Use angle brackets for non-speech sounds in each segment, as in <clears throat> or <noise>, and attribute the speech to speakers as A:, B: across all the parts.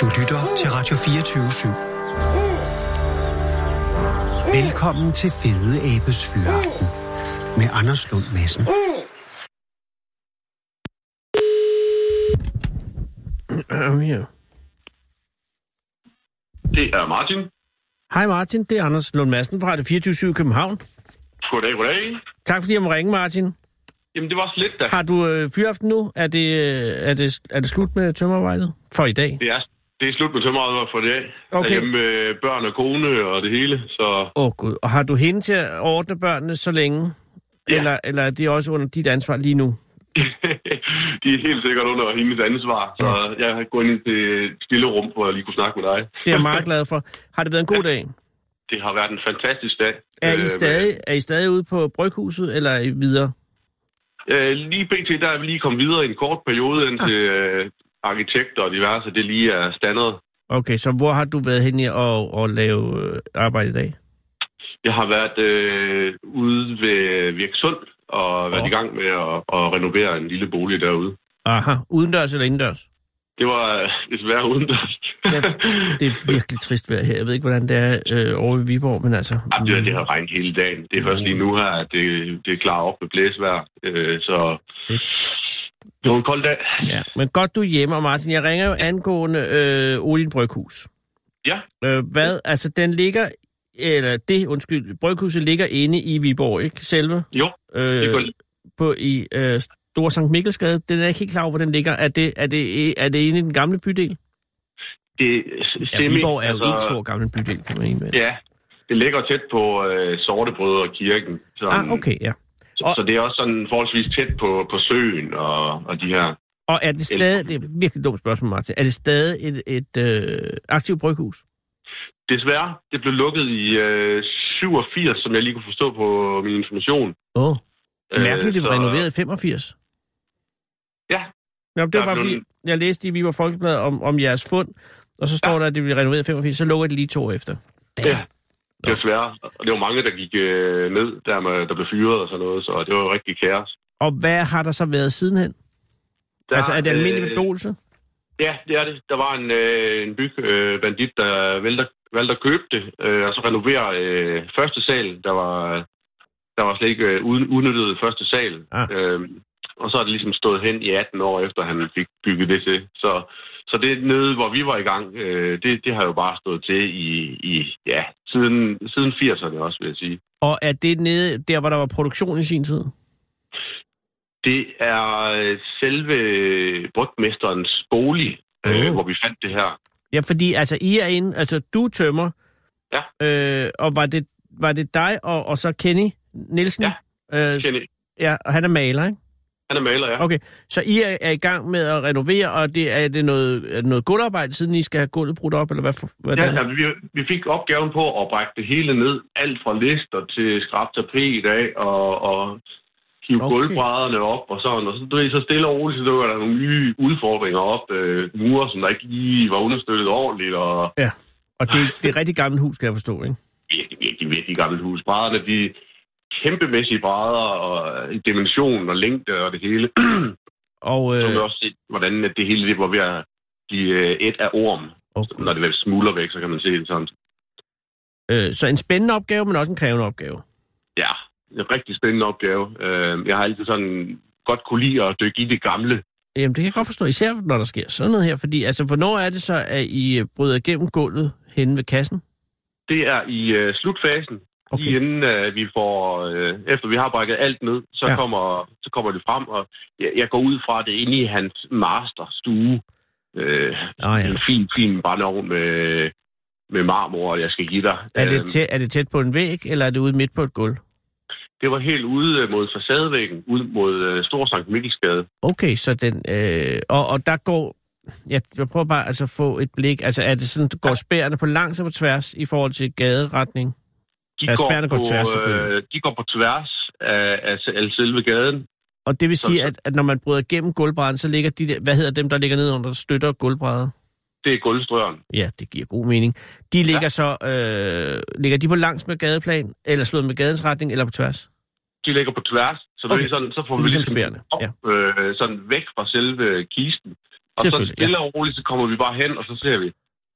A: Du lytter til Radio 24 /7. Velkommen til Fede Abes Fyraften med Anders Lund Madsen.
B: Ja.
C: Det er Martin.
B: Hej Martin, det er Anders Lund Madsen fra Radio 24 i København.
C: Goddag, goddag.
B: Tak fordi jeg må ringe, Martin.
C: Jamen, det var så lidt da.
B: Har du øh, fyraften nu? Er det, øh, er, det, er det slut med tømmerarbejdet for i dag?
C: Det er, det er slut med tømmeret for i dag.
B: Okay.
C: Derhjemme med børn og kone og det hele, så... <laughs>
B: Åh oh, gud, og har du hende til at ordne børnene så længe?
C: Ja.
B: Eller, eller er det også under dit ansvar lige nu?
C: de er helt sikkert under hendes ansvar, så jeg går ind til et stille rum, hvor jeg lige kunne snakke med dig.
B: Det er jeg meget glad for. Har det været en god dag?
C: Det har været en fantastisk dag.
B: Er I
C: Øh,
B: stadig, er I stadig ude på bryghuset, eller er I videre?
C: Øh, lige pt. der er vi lige kommet videre i en kort periode, indtil
B: Ah.
C: øh, arkitekter og diverse, det lige er standard.
B: Okay, så hvor har du været henne i at, at lave øh, arbejde i dag?
C: Jeg har været øh, ude ved Virksund og været
B: Åh.
C: i gang med at, at renovere en lille bolig derude.
B: Aha, udendørs eller indendørs?
C: Det var øh, desværre udendørs.
B: Ja, det
C: <laughs>
B: er virkelig trist vejr her. Jeg ved ikke, hvordan det er øh, over ved Viborg, men altså...
C: Ej, det, har- det har regnet hele dagen. Det er først lige nu her, at det, det er klar op med blæsvejr. Øh, så
B: Fedt.
C: det var en kold dag.
B: Ja, men godt du er hjemme, og Martin, jeg ringer jo angående øh, Olien Bryghus.
C: Ja.
B: Øh, hvad, altså den ligger, eller det, undskyld, Bryghuset ligger inde i Viborg, ikke selve?
C: Jo, det
B: Øh,
C: går-
B: på i øh, Store Sankt Mikkelsgade. Den er jeg ikke helt klar over, hvor den ligger. Er det, er det, er det inde i den gamle bydel?
C: det
B: Ja, Viborg er jo en stor gammel bydel, kan man egentlig.
C: altså, Ja, det ligger tæt på øh, Sortebrød og kirken. Som,
B: Ah, okay, ja.
C: så,
B: Og-
C: så det er også sådan forholdsvis tæt på, på søen og, og de her...
B: Og er det stadig, det er et virkelig dumt spørgsmål, Martin, er det stadig et, et øh, aktivt bryghus?
C: Desværre, det blev lukket i øh, 87, som jeg lige kunne forstå på min information.
B: Åh, oh,
C: Øh,
B: mærkeligt, det var
C: så-
B: renoveret i 85.
C: Ja,
B: Nå, men det var
C: Der
B: bare
C: blev-
B: fordi, jeg læste i Viborg Folkeblad om, om jeres fund, og så står ja. der, at det bliver renoveret i 85, så lukker det lige to år efter.
C: Ja. desværre. Og det var mange, der gik øh, ned, der, med, der blev fyret og sådan noget, så det var jo rigtig kaos.
B: Og hvad har der så været sidenhen?
C: Der,
B: altså, er det almindelig
C: Øh,
B: beboelse?
C: ja, det er det. Der var en, øh, en byg, øh, bandit, der valgte, valgte at købe det, øh, og så renovere øh, første sal, der var, der var slet ikke øh, uden- udnyttet første sal.
B: Ah.
C: Øh, og så er det ligesom stået hen i 18 år, efter han fik bygget det til. Så, så det nede, hvor vi var i gang, øh, det, det har jo bare stået til i, i ja, siden, siden 80'erne også, vil jeg sige.
B: Og er det nede, der hvor der var produktion i sin tid?
C: Det er øh, selve brygmesterens bolig, øh,
B: Uh.
C: hvor vi fandt det her.
B: Ja, fordi altså, I er inde, altså du tømmer,
C: Ja.
B: øh, og var det, var det dig og, og så Kenny Nielsen?
C: Ja.
B: Øh,
C: Kenny,
B: ja, og han er maler, ikke?
C: han er maler, ja.
B: Okay, så I er, er i gang med at renovere, og det, er det noget, er det noget gulvarbejde, siden I skal have gulvet brudt op, eller hvad? for- hvad
C: Ja, ja, altså, vi, vi fik opgaven på at brække det hele ned. Alt fra lister til skrab tapet af og, og hive
B: Okay.
C: okay. gulvbrædderne op og sådan. Og så, du ved, så stille og roligt, så dukker der nogle nye udfordringer op. Øh, mure, som der ikke lige var understøttet ordentligt. Og
B: ja. Og det, det er et rigtig gammelt hus, skal jeg forstå, ikke?
C: virkelig, virkelig, virkelig gammelt hus. Brædderne, de kæmpemæssige brædder og i dimension og længde og det hele. <clears throat>
B: Og,
C: Så
B: øh,
C: kan man også se, hvordan at det hele det var ved at blive øh, et af orm.
B: og,
C: Når det smuldrer væk, så kan man se det sådan.
B: øh, så en spændende opgave, men også en krævende opgave.
C: Ja, en rigtig spændende opgave. Øh, Jeg har altid sådan godt kunne lide at dykke i det gamle.
B: Jamen, det kan jeg godt forstå, især når der sker sådan noget her, fordi altså, hvornår er det så, at I øh, bryder igennem gulvet henne ved kassen?
C: Det er i øh, slutfasen, okay. lige inden øh, vi får, øh, efter vi har brækket alt ned, så,
B: Ja.
C: ja. kommer, så kommer det frem, og jeg, jeg går ud fra at det er inde i hans masterstue. Øh,
B: Ah, ja.
C: En fin, fin brændeovn med, med marmor, og jeg skal give dig.
B: Er
C: Øhm,
B: det, tæt, er det tæt på en væg, eller er det ude midt på et gulv?
C: Det var helt ude øh, mod facadevæggen, ud mod øh, Stor Sankt Mikkelsgade.
B: Okay, så den... Øh, og, og der går... Ja, jeg prøver bare altså, at få et blik. Altså, er det sådan, går spærene på langs og på tværs i forhold til gaderetning?
C: De,
B: Ja, spærrene går tværs,
C: øh,
B: selvfølgelig.
C: de går på tværs af, af, af selve gaden.
B: Og det vil
C: Så-
B: sige,
C: så-
B: at, at når man bryder igennem gulvbræden, så ligger de der... Hvad hedder dem, der ligger nede under, der støtter gulvbrædder?
C: Det er gulvstrøren.
B: Ja, det giver god mening. De ligger ja. så... Øh, ligger de på langs med gadeplan, eller slået med gadens retning, eller på tværs?
C: De ligger på tværs, så,
B: Okay.
C: okay. sådan, så får vi
B: Ligesom
C: ligesom
B: spærrene,
C: op, øh, sådan væk fra selve kisten. Og så
B: Selvfølgelig, ja.
C: stille og roligt, så kommer vi bare hen, og så ser vi.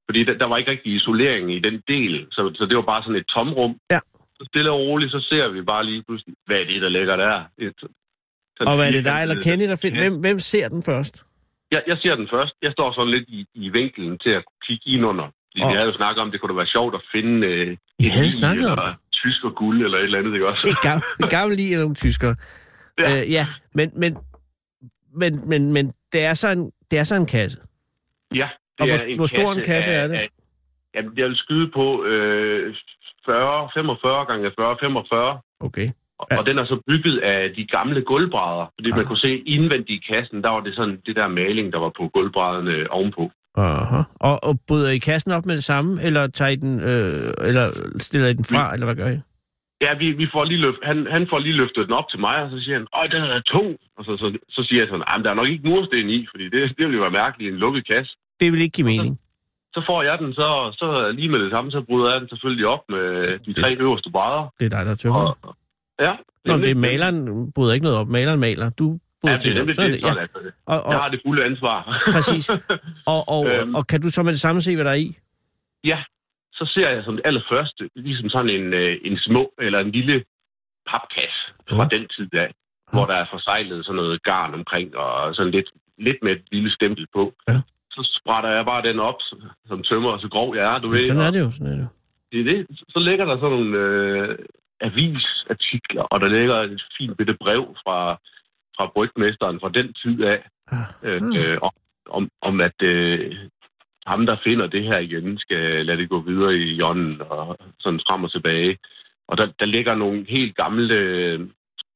C: Fordi der, der var ikke rigtig isolering i den del, så, så det var bare sådan et tomrum.
B: Ja.
C: Så stille og roligt, så ser vi bare lige pludselig, hvad er det, der ligger der? Et, sådan
B: Og hvad er det
C: firkantet-
B: dig eller Kenny, der finder? Hvem, hvem ser den først?
C: Jeg, jeg ser den først. Jeg står sådan lidt i, i vinkelen til at kigge ind under. Fordi
B: Og-
C: vi havde jo snakket om, det kunne da være sjovt at finde øh,
B: I
C: et
B: havde
C: lig
B: snakket om
C: eller tysk og guld eller et eller andet, ikke også?
B: Det er gammel, gammel lige eller nogle tyskere.
C: Ja.
B: Ja, øh, ja men, men, men, men, men det, er så en, det er så en kasse.
C: Ja.
B: Og
C: det
B: hvor-
C: er
B: hvor stor en kasse
C: af-
B: er det?
C: af- Jamen, jeg vil skyde på øh, 40, 45 gange 40, 45.
B: Okay.
C: Og,
B: Ja.
C: og den er så bygget af de gamle gulvbrædder. Fordi man
B: Ah.
C: kunne se indvendigt i kassen, der var det sådan det der maling, der var på gulvbrædderne ovenpå.
B: Aha. Og, og bryder I kassen op med det samme, eller tager I den, øh, eller stiller I den fra, eller hvad gør I?
C: Ja, vi, vi får lige løft, han, han får lige løftet den op til mig, og så siger han, åh, den er da tung. Og så, så, så siger jeg sådan, jamen, der er nok ikke mursten i, fordi det, det ville jo være mærkeligt i en lukket kasse.
B: Det vil ikke give mening.
C: Så får jeg den, så, så lige med det samme, så bryder jeg den selvfølgelig op med de tre øverste brædder.
B: Det er dig, der tømmer.
C: Og, ja.
B: Nå, men det er
C: nemlig.
B: maleren bryder ikke noget op. Maleren maler. Du bryder
C: Ja,
B: ja,
C: det er
B: til det.
C: nemlig
B: Sådan, er
C: det.
B: det. Ja.
C: Sådan, altså,
B: Og,
C: jeg
B: og,
C: har det fulde ansvar. <laughs>
B: præcis. Og, og,
C: Øhm.
B: og kan du så med det samme se, hvad der er i?
C: ja, så ser jeg som det allerførste, ligesom sådan en, øh, en små eller en lille papkasse fra
B: Ja.
C: den tid af, hvor der er forsejlet sådan noget garn omkring, og sådan lidt, lidt med et lille stempel på.
B: Ja.
C: Så sprætter jeg bare den op, s- som tømmer, og så grov jeg er, du ved.
B: Sådan
C: og
B: er det jo. Sådan er det. jo.
C: Det er det. Så ligger der sådan nogle øh, avisartikler, og der ligger et fint bitte brev fra, fra brygmesteren fra den tid af,
B: Ah.
C: øh,
B: Mm.
C: øh, om- om, om at øh, ham, der finder det her igen, skal lade det gå videre i ånden og sådan frem og tilbage. Og der, der ligger nogle helt gamle, øh,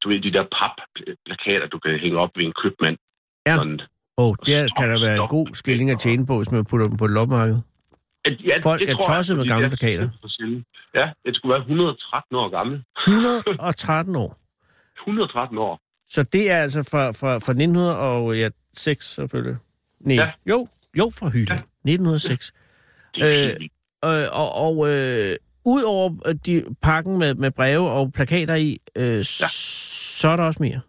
C: du ved, de der papplakater, du kan hænge op ved en købmand.
B: Ja.
C: Sådan.
B: Oh, der kan der være en
C: Stop.
B: god skilling at tjene på, hvis man putter dem på et loppemarked.
C: At- Ja,
B: Folk er
C: tror jeg,
B: tosset med
C: fordi
B: gamle
C: det er
B: plakater.
C: for sjældent. Ja, det skulle være 113 år gammel.
B: 113 år.
C: 113 år.
B: Så det er altså fra, fra, fra 1906, selvfølgelig. Nej.
C: Ja.
B: Ja. Jo, jo, fra Hylde. Ja. 1906.
C: Det er
B: Øh,
C: helt vildt.
B: Øh, og og øh, ud over øh, de, pakken med, med breve og plakater i, øh, ja. så er der også mere.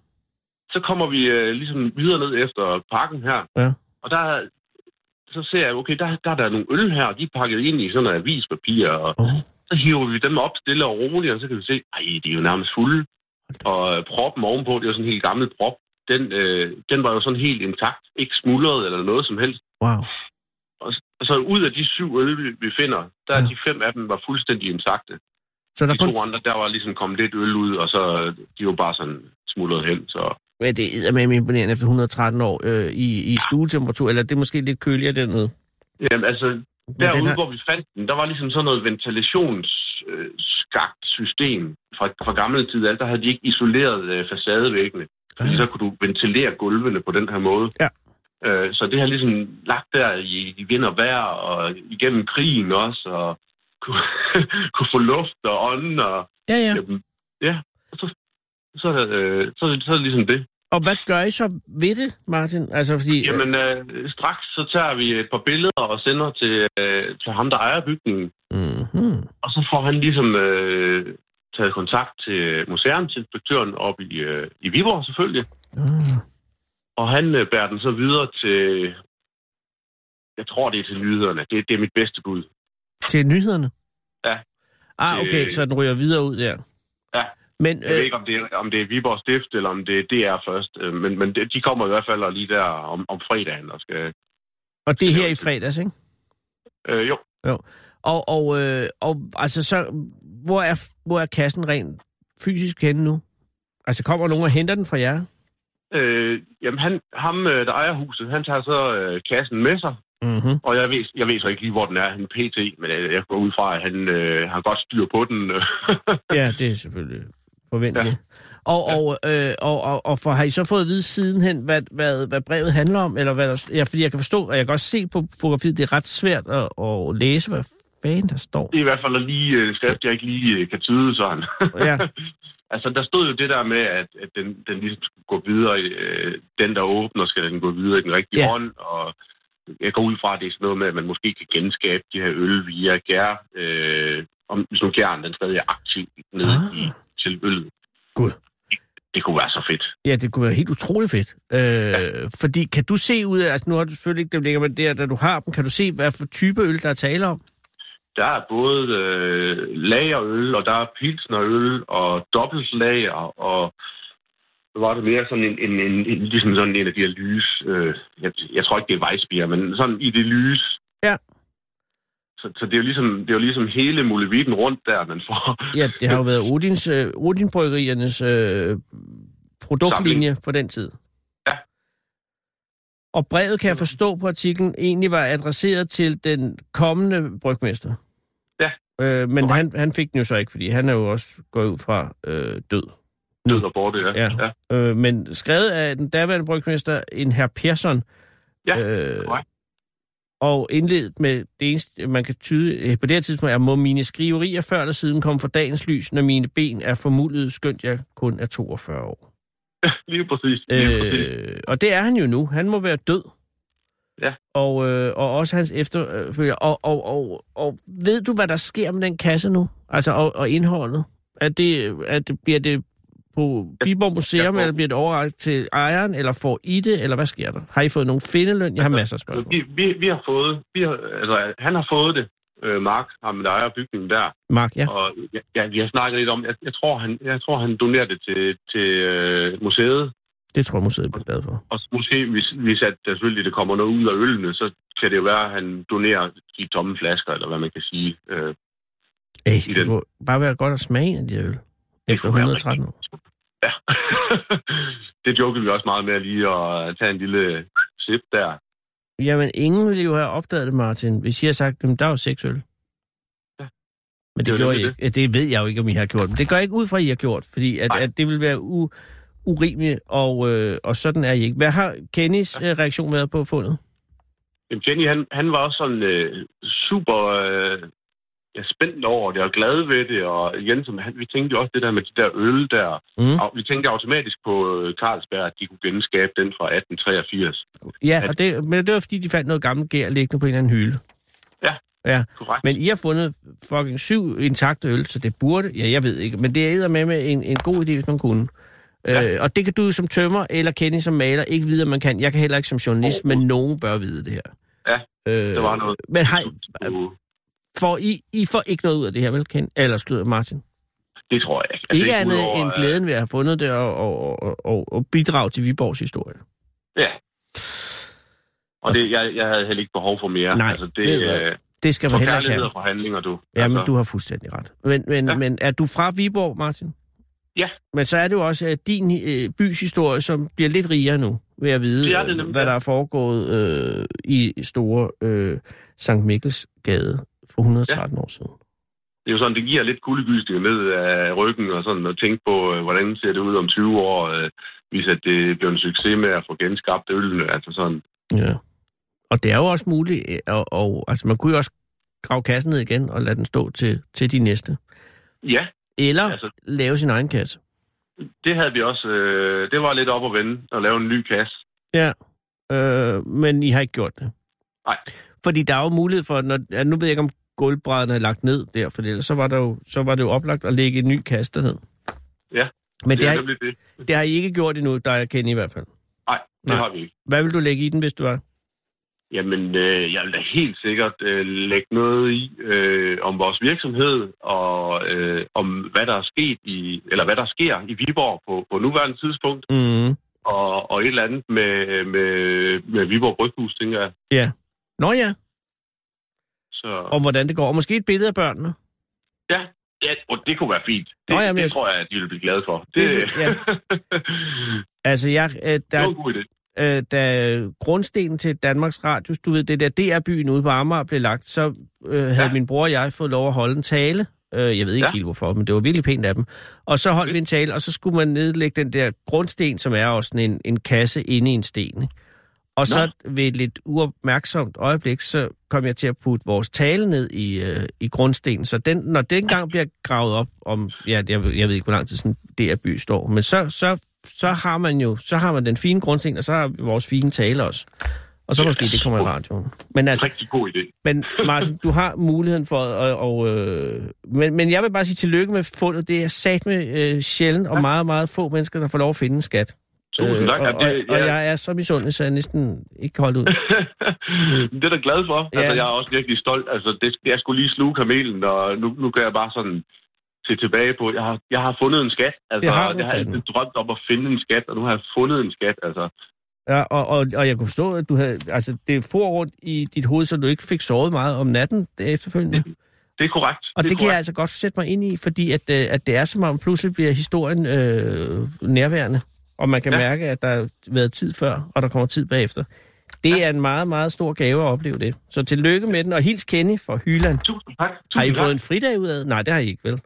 C: så kommer vi øh, ligesom videre ned efter parken her.
B: Ja.
C: Og der, så ser jeg, okay, der, der er der nogle øl her, og de er pakket ind i sådan noget avispapir, og
B: Oh.
C: så hiver vi dem op stille og roligt, og så kan vi se, ej, de er jo nærmest fulde. Og øh, proppen ovenpå, det er jo sådan en helt gammel prop, den, øh, den var jo sådan helt intakt, ikke smuldret eller noget som helst.
B: Wow.
C: Og, s- og så ud af de syv øl, vi- vi finder, der ja.
B: Ja.
C: de fem af dem var fuldstændig intakte.
B: Så er der
C: De
B: kun...
C: to andre, der var ligesom kommet lidt øl ud, og så øh, de var bare sådan smuldret hen, så...
B: Ja, det er med imponerende efter 113 år øh, i, i stuetemperatur, eller det er måske lidt køligere dernede.
C: Jamen, altså,
B: den
C: derude,
B: har-
C: hvor vi fandt den, der var ligesom sådan noget ventilationsskagt system fra, fra gammel tid. af. Der havde de ikke isoleret øh, facadevæggene,
B: Ah.
C: fordi så kunne du ventilere gulvene på den her måde.
B: Ja.
C: Øh, så det har ligesom lagt der i, i vind og vejr, og igennem krigen også, og <laughs> kunne, kunne få luft og ånden. Og,
B: Ja, ja.
C: jamen, ja, og så, så, er det, øh, så, er det- så er det ligesom det.
B: Og hvad gør I så ved det, Martin? Altså, fordi... øh,
C: Jamen, øh, straks så tager vi et par billeder og sender til, øh, til ham, der ejer bygningen.
B: Mhm.
C: Og så får han ligesom øh, taget kontakt til museumsinspektøren op i, øh, i Viborg selvfølgelig.
B: Ah.
C: Og han øh, bærer den så videre til, jeg tror det er til nyhederne. Det, det er mit bedste bud.
B: Til nyhederne?
C: Ja.
B: Ah, okay,
C: Øh.
B: så den ryger videre ud der.
C: Ja.
B: Men,
C: Jeg ved
B: øh,
C: ikke, om det, er, om det er Viborg Stift, eller om det er DR først. øh, Men, men det- de kommer i hvert fald lige der om, om fredagen. Og skal,
B: og det er her i
C: det-
B: fredags, ikke?
C: øh, jo,
B: Og, og, øh, og altså, så, hvor, er, hvor er kassen rent fysisk henne nu? Altså, kommer nogen og henter den fra jer?
C: øh, jamen han, ham, øh, der ejer huset, han tager så øh, kassen med sig.
B: Mm-hmm.
C: Og jeg ved, jeg ved så ikke lige, hvor den er, han pt. Men jeg, jeg går ud fra, at han øh, har godt styr på den. øh, <laughs>
B: Ja, det er selvfølgelig forventeligt. Ja. Og, og, øh, og, og, og for, har I så fået at vide sidenhen, hvad, hvad, hvad brevet handler om? Eller hvad der, ja, fordi jeg kan forstå, og jeg kan også se på fotografiet, det er ret svært at, at læse, hvad fanden der står.
C: Det er i hvert fald lige øh, skrift, jeg ikke lige øh, kan tyde sådan.
B: Ja.
C: <laughs> altså, der stod jo det der med, at, at den, den ligesom skulle gå videre. i, Øh, den, der åbner, skal den gå videre i den rigtige
B: Ja.
C: hånd. Og jeg går ud fra, at det er sådan noget med, at man måske kan genskabe de her øl via gær. Øh, om, hvis nu gæren, den stadig er aktiv nede
B: Ah.
C: i, til øllet.
B: Gud.
C: det kunne være så fedt.
B: Ja, det kunne være helt utroligt fedt. Øh, ja. Fordi kan du se ud af, altså nu har du selvfølgelig ikke dem længere, men der, da du har dem, kan du se, hvad for type øl, der er tale om?
C: Der er både øh, lagerøl, og der er pilsnerøl, og dobbeltlager, og så var det mere sådan en, en, en, en ligesom sådan en af de her lys, øh, jeg, jeg tror ikke, det er vejsbier, men sådan i det lys.
B: Ja.
C: Så, så det, er jo ligesom, det er jo ligesom hele mulevitten rundt der, man får.
B: Ja, det har jo været Odins, øh, Odinbryggeriernes øh, produktlinje for den tid.
C: Ja.
B: Og brevet, kan jeg forstå på artiklen, egentlig var adresseret til den kommende brygmester.
C: Ja.
B: Øh, men
C: Korrekt.
B: han, han fik den jo så ikke, fordi han er jo også gået ud fra øh, død.
C: Død og borte, ja.
B: Ja.
C: ja.
B: Øh, men skrevet af den daværende brygmester, en herr Persson.
C: Ja,
B: øh,
C: korrekt.
B: Og indledt med det eneste, man kan tyde øh, på det her tidspunkt, er, må mine skriverier før eller siden komme for dagens lys, når mine ben er formuldet, skønt jeg kun er 42 år.
C: Lige præcis. Lige præcis.
B: Øh, og det er han jo nu. Han må være død.
C: Ja.
B: Og, øh, og også hans efterfølger. Og, og, og, og ved du, hvad der sker med den kasse nu? Altså, og, og indholdet? Er det, er det, bliver det på Biborg
C: jeg
B: Museum,
C: tror-
B: eller bliver det overragt til ejeren, eller får I det, eller hvad sker der? Har I fået nogen findeløn? Jeg har masser af
C: Altså,
B: spørgsmål.
C: vi, vi, vi har fået, vi har, altså, han har fået det, øh, Mark, ham der ejer bygningen der.
B: Mark, ja.
C: Og ja, vi har snakket lidt om, jeg, jeg, tror, han, jeg tror, han donerer det til, til øh, museet.
B: Det tror jeg, museet bliver glad for.
C: Og så måske, hvis, hvis at, der selvfølgelig det kommer noget ud af ølene, så kan det jo være, at han donerer de tomme flasker, eller hvad man kan sige. Øh,
B: Ej,
C: I
B: det
C: den-
B: må bare være godt at smage en af de her øl. Efter
C: kunne være
B: 113 år.
C: ja. <laughs> det jokede vi også meget med lige at tage en lille sip der.
B: Jamen, ingen ville jo have opdaget det, Martin, hvis I havde sagt, at der er jo seks øl.
C: Ja.
B: Men det, det
C: Det er jo
B: gjorde I
C: nemlig
B: ikke. Det. det ved jeg jo ikke, om I har gjort. Men det går jeg ikke ud fra, at I har gjort, fordi at,
C: Nej.
B: at det vil være u, urimeligt, og, øh, og sådan er I ikke. Hvad har Kennys øh, reaktion været på fundet?
C: Jamen, Jenny, han, han var også sådan øh, super øh, ja, spændt over det, og glad ved det, og igen, som han, vi tænkte jo også det der med de der øl der.
B: Mm.
C: Og vi tænkte automatisk på øh, Carlsberg, at de kunne genskabe den fra 1883.
B: Ja,
C: at-
B: og det, men det var fordi, de fandt noget gammelt gær liggende på en eller anden hylde.
C: Ja.
B: Ja,
C: Korrekt.
B: men I har fundet fucking syv intakte øl, så det burde, ja, jeg ved ikke, men det er med med en, en god idé, hvis man kunne. Ja.
C: Ja.
B: Øh, og det kan du som tømmer eller Kenny som maler ikke vide, om man kan. Jeg kan heller ikke som journalist, men nogen bør vide det her.
C: Ja,
B: øh,
C: der var noget.
B: Men øh, hej,
C: Så,
B: får I, I får ikke noget ud af det her, vel, Ken? Eller skyder Martin?
C: det tror jeg ikke.
B: Altså, ikke andet
C: udover,
B: end
C: øh,
B: glæden ved at have fundet det og, og, og, og, og bidrage til Viborgs historie.
C: øh, Ja. Og det, jeg, jeg havde heller ikke behov for mere.
B: Nej,
C: altså, det,
B: ved du hvad?
C: øh,
B: Det skal
C: for
B: man heller ikke
C: kærlighed
B: have.
C: og forhandlinger, du.
B: Ja, men
C: altså,
B: du har fuldstændig ret. Men, men, ja.
C: Ja.
B: men er du fra Viborg, Martin?
C: Ja.
B: Men så er det jo også øh, din øh, bys historie, som bliver lidt rigere nu, ved at vide,
C: Det er det
B: øh,
C: nemlig,
B: hvad
C: ja.
B: der er foregået øh, i store øh, Sankt Mikkels gade for 113 ja. år siden.
C: Det er jo sådan, det giver lidt kuldegysninger ned af ryggen og sådan, og tænke på, øh, hvordan ser det ud om 20 år, øh, hvis at det bliver en succes med at få genskabt ølene. Altså sådan,
B: Ja. Og det er jo også muligt, øh, og, og altså, man kunne jo også grave kassen ned igen og lade den stå til, til de næste.
C: ja,
B: Eller altså.
C: Altså-
B: lave sin egen kasse.
C: det havde vi også. Øh, det var lidt op at vende og lave en ny kasse.
B: Ja, øh, men I har ikke gjort det.
C: Nej.
B: Fordi der er jo mulighed for, når, ja, nu ved jeg ikke, om gulvbrædderne er lagt ned der, for ellers så var, der jo, så var det jo oplagt at lægge en ny kasse derned.
C: Ja,
B: Men det,
C: er
B: har,
C: nemlig det.
B: det har I ikke gjort endnu, der jeg kender i hvert fald.
C: Nej, det
B: Nej.
C: har vi ikke.
B: Hvad vil du lægge i den, hvis du er?
C: Jamen, øh, jeg vil da helt sikkert øh, lægge noget i øh, om vores virksomhed og øh, om hvad der er sket i eller hvad der sker i Viborg på, på nuværende tidspunkt
B: Mm.
C: og, og et eller andet med med, med Viborg Bryghus, tænker jeg.
B: Nå ja,
C: Så
B: og hvordan det går. Og måske et billede af børnene.
C: ja, ja, og det kunne være fint. Det,
B: Nå,
C: Nå,
B: jamen,
C: jamen,
B: jeg-
C: det tror jeg, at de vil blive glade for. Det,
B: Det-
C: det,
B: ja.
C: <laughs> ja.
B: Altså, jeg, øh,
C: det var
B: der,
C: en god idé.
B: øh, da grundstenen til Danmarks Radios, du ved, det der DR-byen ude på Amager blev lagt, så øh, havde ja.
C: Ja.
B: min bror og jeg fået lov at holde en tale. Øh, jeg ved ikke ja.
C: Ja.
B: helt hvorfor, men det var virkelig pænt af dem. Og så holdt vi en tale, og så skulle man nedlægge den der grundsten, som er også sådan en, en kasse inde i en sten. Ikke? Og så ved et lidt uopmærksomt øjeblik, så kom jeg til at putte vores tale ned i, øh, i grundstenen. Så den, når den gang bliver gravet op om, ja, jeg, ved- jeg ved ikke, hvor lang tid sådan det er by står, men så, så, så har man jo, så har man den fine grundsten, og så har vi vores fine tale også. Og så måske det kommer i radioen. Men altså,
C: Rigtig god idé.
B: Men Martin, du har muligheden for at... Og, øh, men, men jeg vil bare sige tillykke med fundet. Det er sat med øh, sjældent og meget, meget få mennesker, der får lov at finde en skat. Øh,
C: Tusind tak.
B: og,
C: Ja,
B: og,
C: det-
B: og
C: ja. <laughs>
B: jeg er så misundelig, så jeg næsten ikke kan holde ud.
C: det er da glad for. Ja. Altså,
B: Ja.
C: jeg er også virkelig stolt. Altså, det, jeg skulle lige sluge kamelen, og nu, nu kan jeg bare sådan se tilbage på, jeg har, jeg har fundet en skat. Altså,
B: Det har du
C: jeg har
B: fandme.
C: altid drømt om at finde en skat, og nu har jeg fundet en skat. Altså,
B: Ja, og, og, og jeg kunne forstå, at du havde... Altså, det for rundt i dit hoved, så du ikke fik sovet meget om natten det efterfølgende.
C: det er korrekt.
B: Og det,
C: er
B: kan jeg
C: korrekt.
B: altså godt sætte mig ind i, fordi at, øh, at det er som om, pludselig bliver historien øh, nærværende, og man kan ja.
C: Ja.
B: mærke, at der har været tid før, og der kommer tid bagefter. Det ja. er en meget, meget stor gave at opleve det. Så tillykke med den, og hils Kenny fra Hyland.
C: Tusind tak. Tusind
B: Har I
C: tak.
B: fået en fridag ud af? Nej, det har I ikke, vel?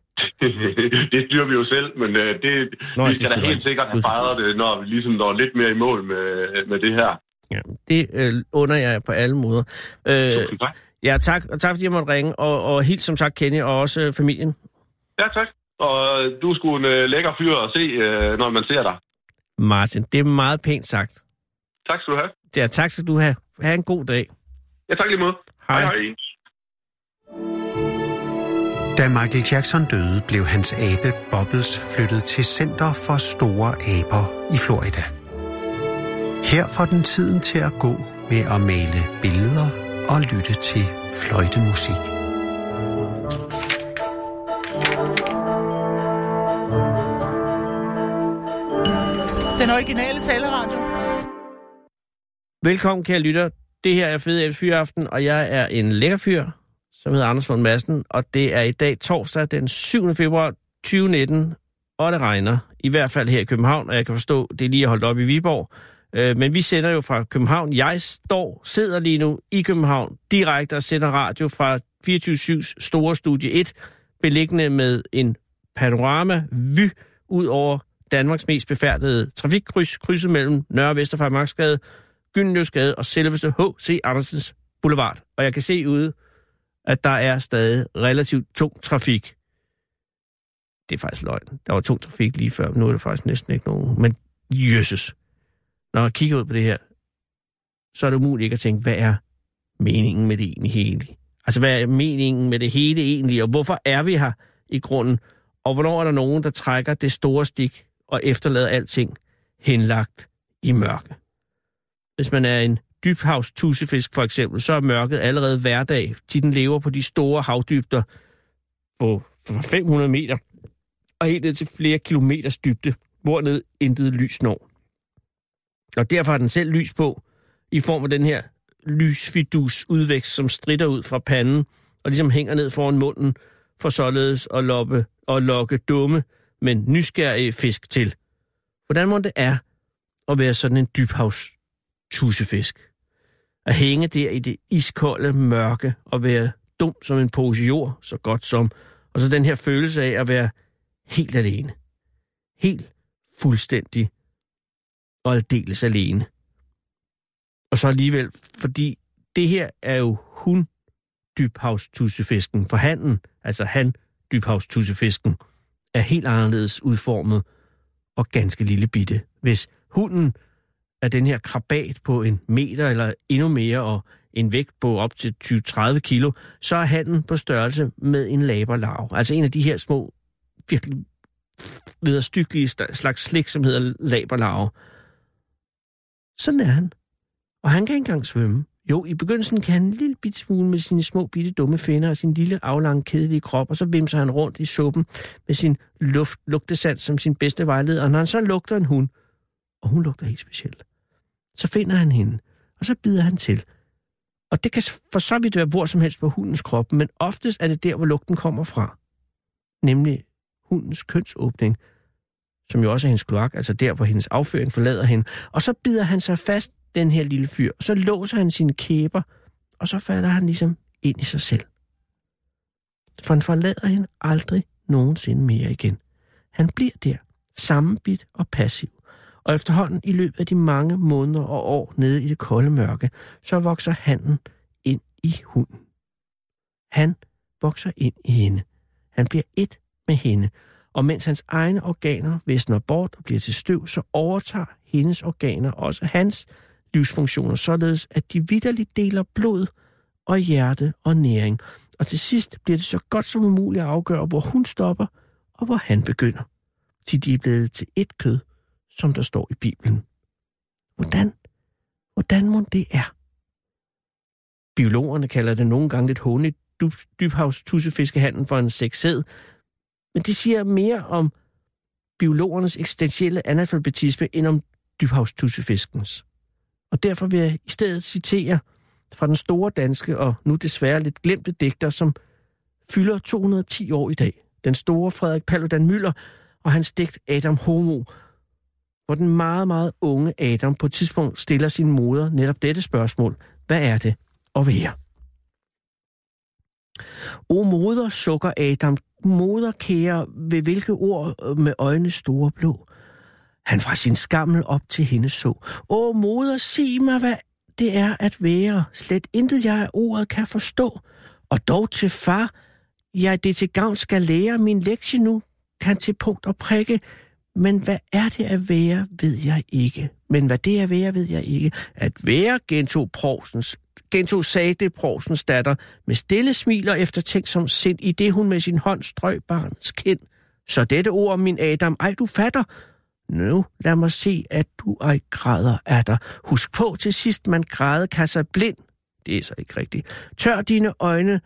C: <laughs> det styrer vi jo selv, men øh, det,
B: Nå,
C: Nå,
B: ja,
C: vi
B: det
C: skal
B: styrer
C: da helt
B: I.
C: sikkert have
B: Gud,
C: fejret det, når vi ligesom når lidt mere i mål med, med det her.
B: Ja, det øh, under jeg jer på alle måder. Øh,
C: Tusind tak.
B: ja, tak, og tak fordi jeg måtte ringe, og, og helt som sagt Kenny, og også øh, familien.
C: Ja, tak. Og øh, du er sgu en øh, lækker fyr at se, øh, når man ser dig.
B: Martin, det er meget pænt sagt.
C: Tak skal du have.
B: Ja, tak skal du have. Ha' en god dag.
C: Ja, tak lige måde.
B: Hej.
C: hej. hej.
A: Da Michael Jackson døde, blev hans abe Bubbles flyttet til Center for Store Aber i Florida. Her får den tiden til at gå med at male billeder og lytte til fløjtemusik.
D: Den originale taleradio.
B: Velkommen, kære lytter. Det her er Fede Abes Fyraften, og jeg er en lækker fyr, som hedder Anders Lund Madsen, og det er i dag torsdag den 7. februar 2019, og det regner, i hvert fald her i København, og jeg kan forstå, det er lige holdt op i Viborg. Øh, men vi sender jo fra København. Jeg står, sidder lige nu i København, direkte og sender radio fra 24-7's store studie 1, beliggende med en panorama-vy ud over Danmarks mest befærdede trafikkryds, krydset mellem Nørre og Vesterfejmarksgade, Gyldenløvsgade og selveste H.C. Andersens Boulevard. Og jeg kan se ude, at der er stadig relativt tung trafik. Det er faktisk løgn. Der var tung trafik lige før, men nu er der faktisk næsten ikke nogen. Men jøsses. Når jeg kigger ud på det her, så er det umuligt ikke at tænke, hvad er meningen med det egentlig hele? Altså, hvad er meningen med det hele egentlig, og hvorfor er vi her i grunden? Og hvornår er der nogen, der trækker det store stik og efterlader alting henlagt i mørke? Hvis man er en dybhavs tussefisk for eksempel, så er mørket allerede hverdag, fordi den lever på de store havdybder på fra 500 meter og helt ned til flere kilometers dybde, hvorned intet lys når. Og derfor har den selv lys på, i form af den her lysfidus udvækst, som strider ud fra panden og ligesom hænger ned foran munden, for således at loppe og lokke dumme, men nysgerrige fisk til. Hvordan må det er at være sådan en dybhavs tussefisk. At hænge der i det iskolde mørke og være dum som en pose jord, så godt som, og så den her følelse af at være helt alene. Helt fuldstændig og aldeles alene. Og så alligevel, fordi det her er jo hun dybhavstussefisken, for handen, altså han dybhavstussefisken, er helt anderledes udformet og ganske lille bitte. Hvis hunden af den her krabat på en meter eller endnu mere og en vægt på op til 20-30 kilo, så er handen på størrelse med en laberlarve. Altså en af de her små, virkelig vederstykkelige sta- slags slik, som hedder laberlarve. Sådan er han. Og han kan ikke engang svømme. Jo, i begyndelsen kan han en lille bitte smule med sine små bitte dumme finder og sin lille aflange kedelige krop, og så vimser han rundt i suppen med sin luft, lugtesand som sin bedste vejleder. Og når han så lugter en hund, og hun lugter helt specielt. Så finder han hende, og så bider han til. Og det kan for så vidt være hvor som helst på hundens krop, men oftest er det der, hvor lugten kommer fra. Nemlig hundens kønsåbning, som jo også er hendes kloak, altså der, hvor hendes afføring forlader hende. Og så bider han sig fast, den her lille fyr, og så låser han sine kæber, og så falder han ligesom ind i sig selv. For han forlader hende aldrig nogensinde mere igen. Han bliver der, sammenbit og passiv. Og efterhånden i løbet af de mange måneder og år nede i det kolde mørke, så vokser handen ind i hunden. Han vokser ind i hende. Han bliver et med hende. Og mens hans egne organer visner bort og bliver til støv, så overtager hendes organer også hans, livsfunktioner, således at de vidderligt deler blod og hjerte og næring. Og til sidst bliver det så godt som umuligt at afgøre, hvor hun stopper og hvor han begynder. Til de er blevet til et kød, som der står i Bibelen. Hvordan? Hvordan må det er? Biologerne kalder det nogle gange lidt hånligt dybhavstusefiskehandel for en sexed, men det siger mere om biologernes eksistentielle analfabetisme end om dybhavstussefiskens. Og derfor vil jeg i stedet citere fra den store danske og nu desværre lidt glemte digter, som fylder 210 år i dag. Den store Frederik Paludan Møller og hans digt Adam Homo, hvor den meget, meget unge Adam på et tidspunkt stiller sin moder netop dette spørgsmål. Hvad er det at være? O moder, sukker Adam, moder kære, ved hvilke ord øh, med øjne store blå. Han fra sin skammel op til hende så. O moder, sig mig, hvad det er at være. Slet intet jeg af ordet kan forstå. Og dog til far, jeg det til gavn skal lære. Min lektie nu kan til punkt og prikke. Men hvad er det at være, ved jeg ikke. Men hvad det er at være, ved jeg ikke. At være, gentog Provsens gentog sagde Provsens datter med stille smil og eftertænkt som sind, i det hun med sin hånd strøg barnets kind. Så dette ord, min Adam, ej du fatter. Nu lad mig se, at du ej græder af dig. Husk på til sidst, man græde kan sig blind. Det er så ikke rigtigt. Tør dine øjne.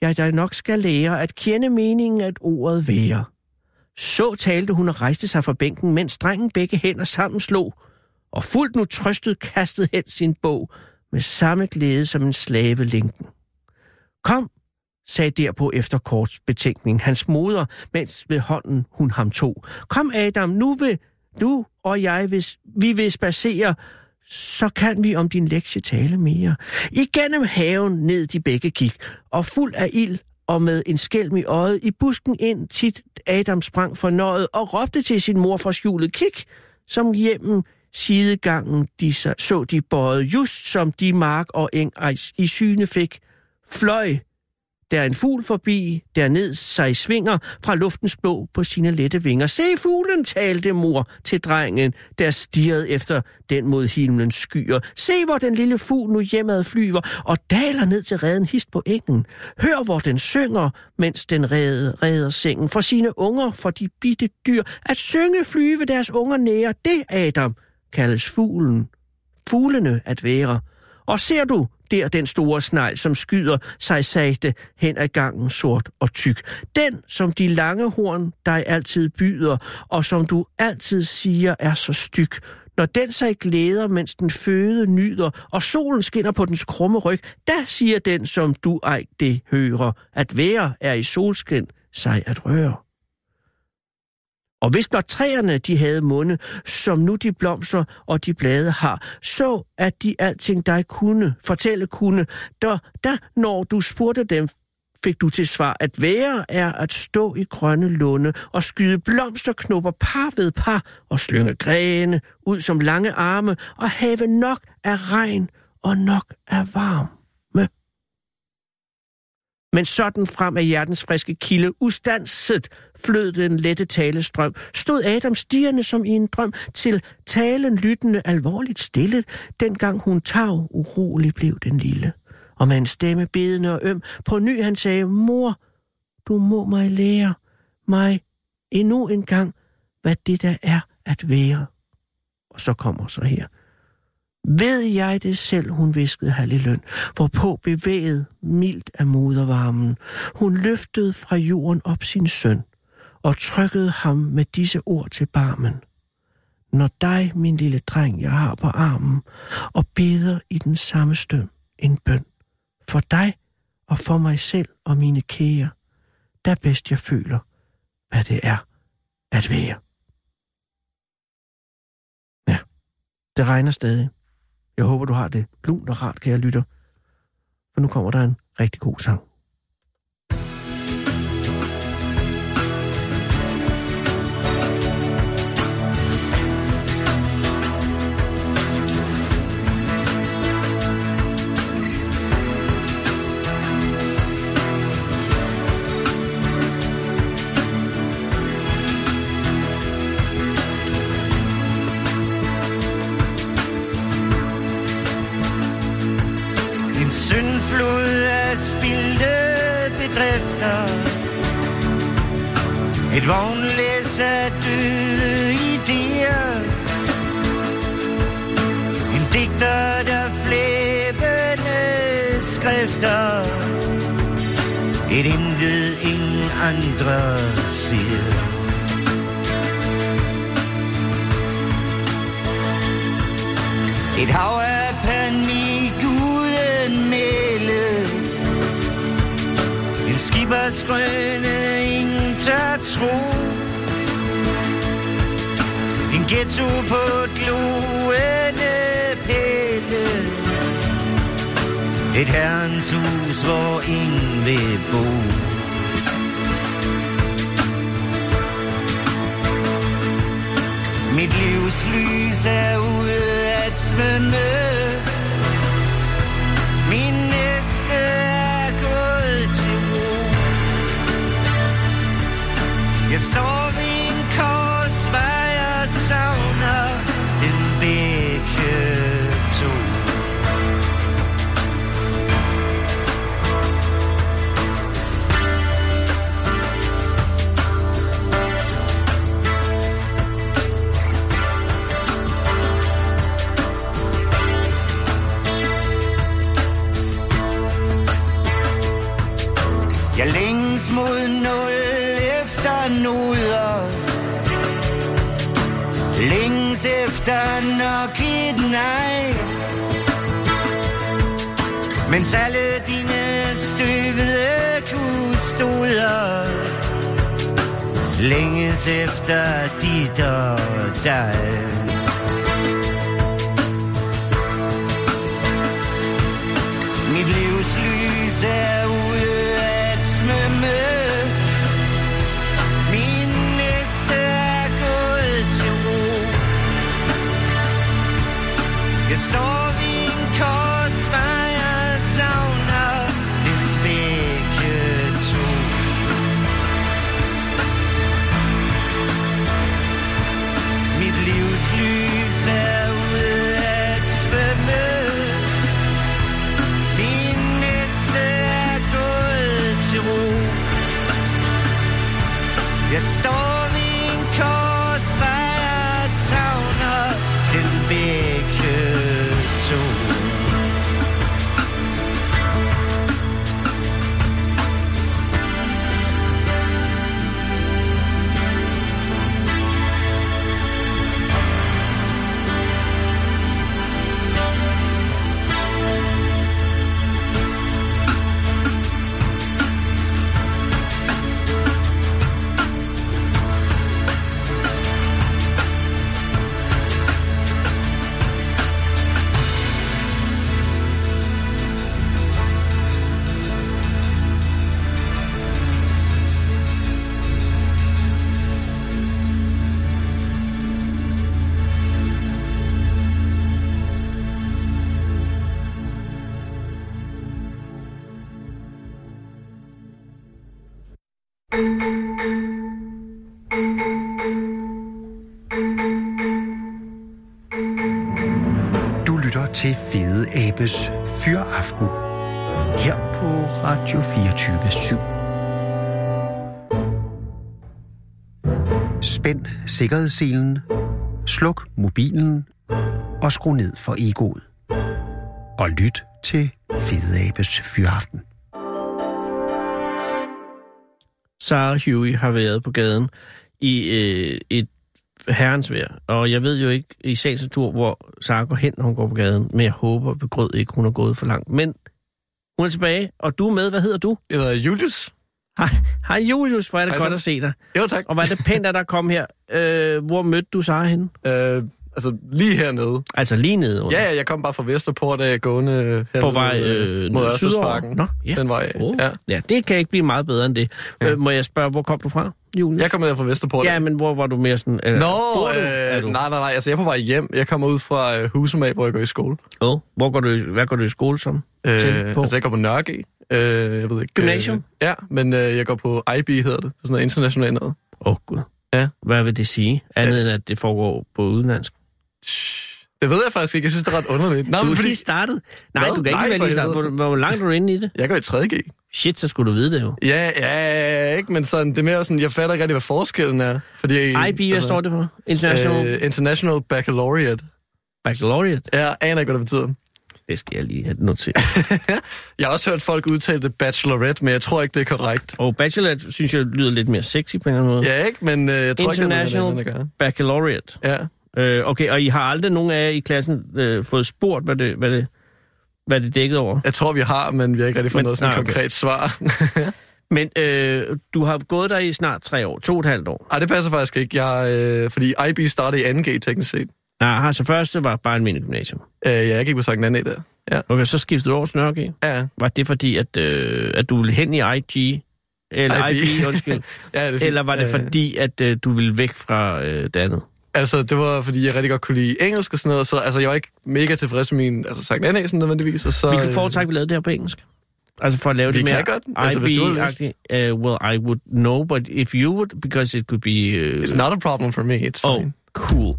B: Jeg dig nok skal lære at kende meningen, at ordet være. Så talte hun og rejste sig fra bænken, mens drengen begge hænder sammen slog, og fuldt nu trøstet kastede hen sin bog, med samme glæde som en slave linken. Kom, sagde derpå efter kort betænkning hans moder, mens ved hånden hun ham tog. Kom Adam, nu vil du og jeg, hvis vi vil spacere, så kan vi om din lektie tale mere. Igennem haven ned de begge gik, og fuld af ild og med en skælm i øjet i busken ind tit Adam sprang fornøjet og råbte til sin mor fra skjulet kik, som hjemmen sidegangen de så, så de bøjet, just som de mark og eng i syne fik, fløj, der en fugl forbi, derned sig svinger fra luftens blå på sine lette vinger. Se fuglen, talte mor til drengen, der stirrede efter den mod himlens skyer. Se, hvor den lille fugl nu hjemad flyver og daler ned til reden hist på engen. Hør, hvor den synger, mens den redder, redder sengen. For sine unger, for de bitte dyr, at synge flyve deres unger nære, det, Adam, kaldes fuglen, fuglene at være. Og ser du der den store snegl, som skyder sig sagte hen ad gangen sort og tyk. Den, som de lange horn dig altid byder, og som du altid siger er så styg. Når den sig glæder, mens den føde nyder, og solen skinner på dens krumme ryg, da siger den, som du ej det hører, at være er i solskin sig at røre. Og hvis blot træerne de havde munde, som nu de blomster og de blade har, så at de alting dig kunne, fortælle kunne, der, der når du spurgte dem, fik du til svar, at være er at stå i grønne lunde og skyde blomsterknopper par ved par og slynge grene ud som lange arme og have nok af regn og nok af varme. Men sådan frem af hjertens friske kilde, ustanset flød den lette talestrøm, stod Adam stigende som i en drøm, til talen lyttende alvorligt stille, dengang hun tav urolig blev den lille. Og med en stemme bedende og øm, på ny han sagde, mor, du må mig lære, mig endnu en gang, hvad det der er at være. Og så kommer så her. Ved jeg det selv, hun viskede Halliløn, hvorpå bevæget mildt af modervarmen. Hun løftede fra jorden op sin søn og trykkede ham med disse ord til barmen. Når dig, min lille dreng, jeg har på armen, og beder i den samme støm en bøn. For dig og for mig selv og mine kære, der bedst jeg føler, hvad det er at være. Ja, det regner stadig. Jeg håber, du har det lunt og rart, kære lytter. For nu kommer der en rigtig god sang.
E: Syndflod af spildte bedrifter Et vognlæs af døde idéer En digter, der flæbende skrifter Et intet ingen andre siger Et hav af panik uden mæle En skibers grønne ingen tør tro En ghetto på et gloende pæle Et herrens hus, hvor ingen vil bo Mit livs lys er ude at svømme Min næste er gået til ro Jeg står ved en korsvej og savner den begge to Jeg længes mod nul efter nuder Længes efter nok et nej Mens alle dine støvede kustoder Længes efter dit og dig Mit livs lys er ude at svømme Min næste er gået til ro Jeg står ved en korsvej og savner dem begge to Mit livs lys er ude at svømme min næste er gået til ro Jeg står ved en korsvej og savner den begge to
A: Du lytter til Fede Abes Fyraften her på Radio 24 Spænd sikkerhedsselen, sluk mobilen og skru ned for egoet. Og lyt til Fede Abes Fyraften.
B: Sarah Huey har været på gaden i øh, et herrens vejr. Og jeg ved jo ikke i sagens natur, hvor Sarah går hen, når hun går på gaden. Men jeg håber ved grød ikke, hun er gået for langt. Men hun er tilbage, og du er med. Hvad hedder du?
F: Jeg hedder Julius.
B: Hej, hej Julius, hvor er det
F: Hej
B: godt
F: så.
B: at se dig.
F: Jo, tak.
B: Og hvor er det pænt, at der kom her. Øh, hvor mødte du Sarah henne?
F: Øh, altså, lige hernede.
B: Altså lige nede under.
F: Ja, ja, jeg kom bare fra Vesterport af gående øh, hernede,
B: På vej øh,
F: mod
B: ned
F: Ørstedsparken.
B: sydover. Nå, ja.
F: Den vej,
B: Oh.
F: Øh, ja.
B: Ja. ja, det kan ikke blive meget bedre end det. Ja. Øh, må jeg spørge, hvor kom du fra, Julius?
F: Jeg kom ned fra Vesterport.
B: Ja, men hvor var du mere sådan... Øh,
F: Nå,
B: bor du? Er
F: øh,
B: du?
F: nej, nej, nej. Altså, jeg er på vej hjem. Jeg kommer ud fra øh, Husum af, hvor jeg går i skole.
B: Oh. Hvor går du, i- hvad går du i skole som?
F: Øh,
B: til på?
F: altså, jeg går på Nørre øh, jeg ved ikke.
B: Gymnasium?
F: Øh, ja, men øh, jeg går på IB, hedder det. Det er sådan noget internationalt noget.
B: Åh, oh, Gud.
F: Ja.
B: Hvad vil det sige? Andet end, at det foregår på udenlandsk.
F: Det ved jeg faktisk ikke. Jeg synes, det er ret underligt. Nej,
B: Du
F: men
B: er
F: fordi...
B: lige startet. Nej,
F: Hvad?
B: du kan ikke
F: Nej,
B: være
F: for
B: lige startet. Hvor,
F: helvede.
B: hvor langt er du inde i det?
F: Jeg går i 3.G.
B: Shit, så skulle du vide det jo.
F: Ja, ja, ikke, men sådan, det er mere sådan, jeg fatter ikke rigtig, hvad forskellen er. Fordi, altså-
B: IB, hvad står det for? International øh,
F: Øh, International Baccalaureate.
B: Baccalaureate.
F: Jeg aner ikke, hvad det betyder.
B: Det skal jeg lige have noteret.
F: <laughs> Jeg har også hørt folk udtale det bachelorette, men jeg tror ikke, det er korrekt.
B: Og bachelor, synes jeg, lyder lidt mere sexy på en eller anden måde.
F: Ja, ikke? Men øh, jeg tror ikke, det er noget,
B: International
F: der er noget, der
B: Baccalaureate.
F: gør. Ja.
B: Øh, okay, og I har aldrig nogen af jer i klassen øh, fået spurgt, hvad det, hvad, det, hvad det dækkede over?
F: Jeg tror, vi har, men vi har ikke rigtig fået
B: Men-
F: noget sådan
B: nej, okay.
F: konkret svar. <laughs>
B: Men øh, du har gået der i snart tre år, to og et halvt år.
F: Nej, det passer faktisk ikke. Jeg, øh, fordi IB startede i 2G teknisk set.
B: Aha, så første var bare en mindre gymnasium.
F: Øh, ja, jeg gik på Sankt Nanne der. Ja.
B: Okay, så skiftede du over til Nørke.
F: Ja,
B: Var det fordi, at, øh, at du ville hen i IG? Eller
F: IB.
B: IB, IB undskyld.
F: <laughs>
B: <laughs>
F: ja det er fint.
B: Eller var det
F: Øh,
B: fordi, at øh, du ville væk fra øh, det andet?
F: Altså, det var, fordi jeg rigtig godt kunne lide engelsk og sådan noget, så altså, jeg var ikke mega tilfreds med min altså, Sankt Nanne sådan nødvendigvis. Og så,
B: Vi kunne
F: øh,
B: foretrække, at vi lavede det her på engelsk. Altså for at lave
F: Vi
B: det
F: kan
B: mere
F: godt. Altså, hvis du har lyst.
B: IB-agtigt. Uh, well, I would know, but if you would, because it could be... Uh,
F: It's not a problem for me, it's
B: Oh,
F: fine.
B: cool.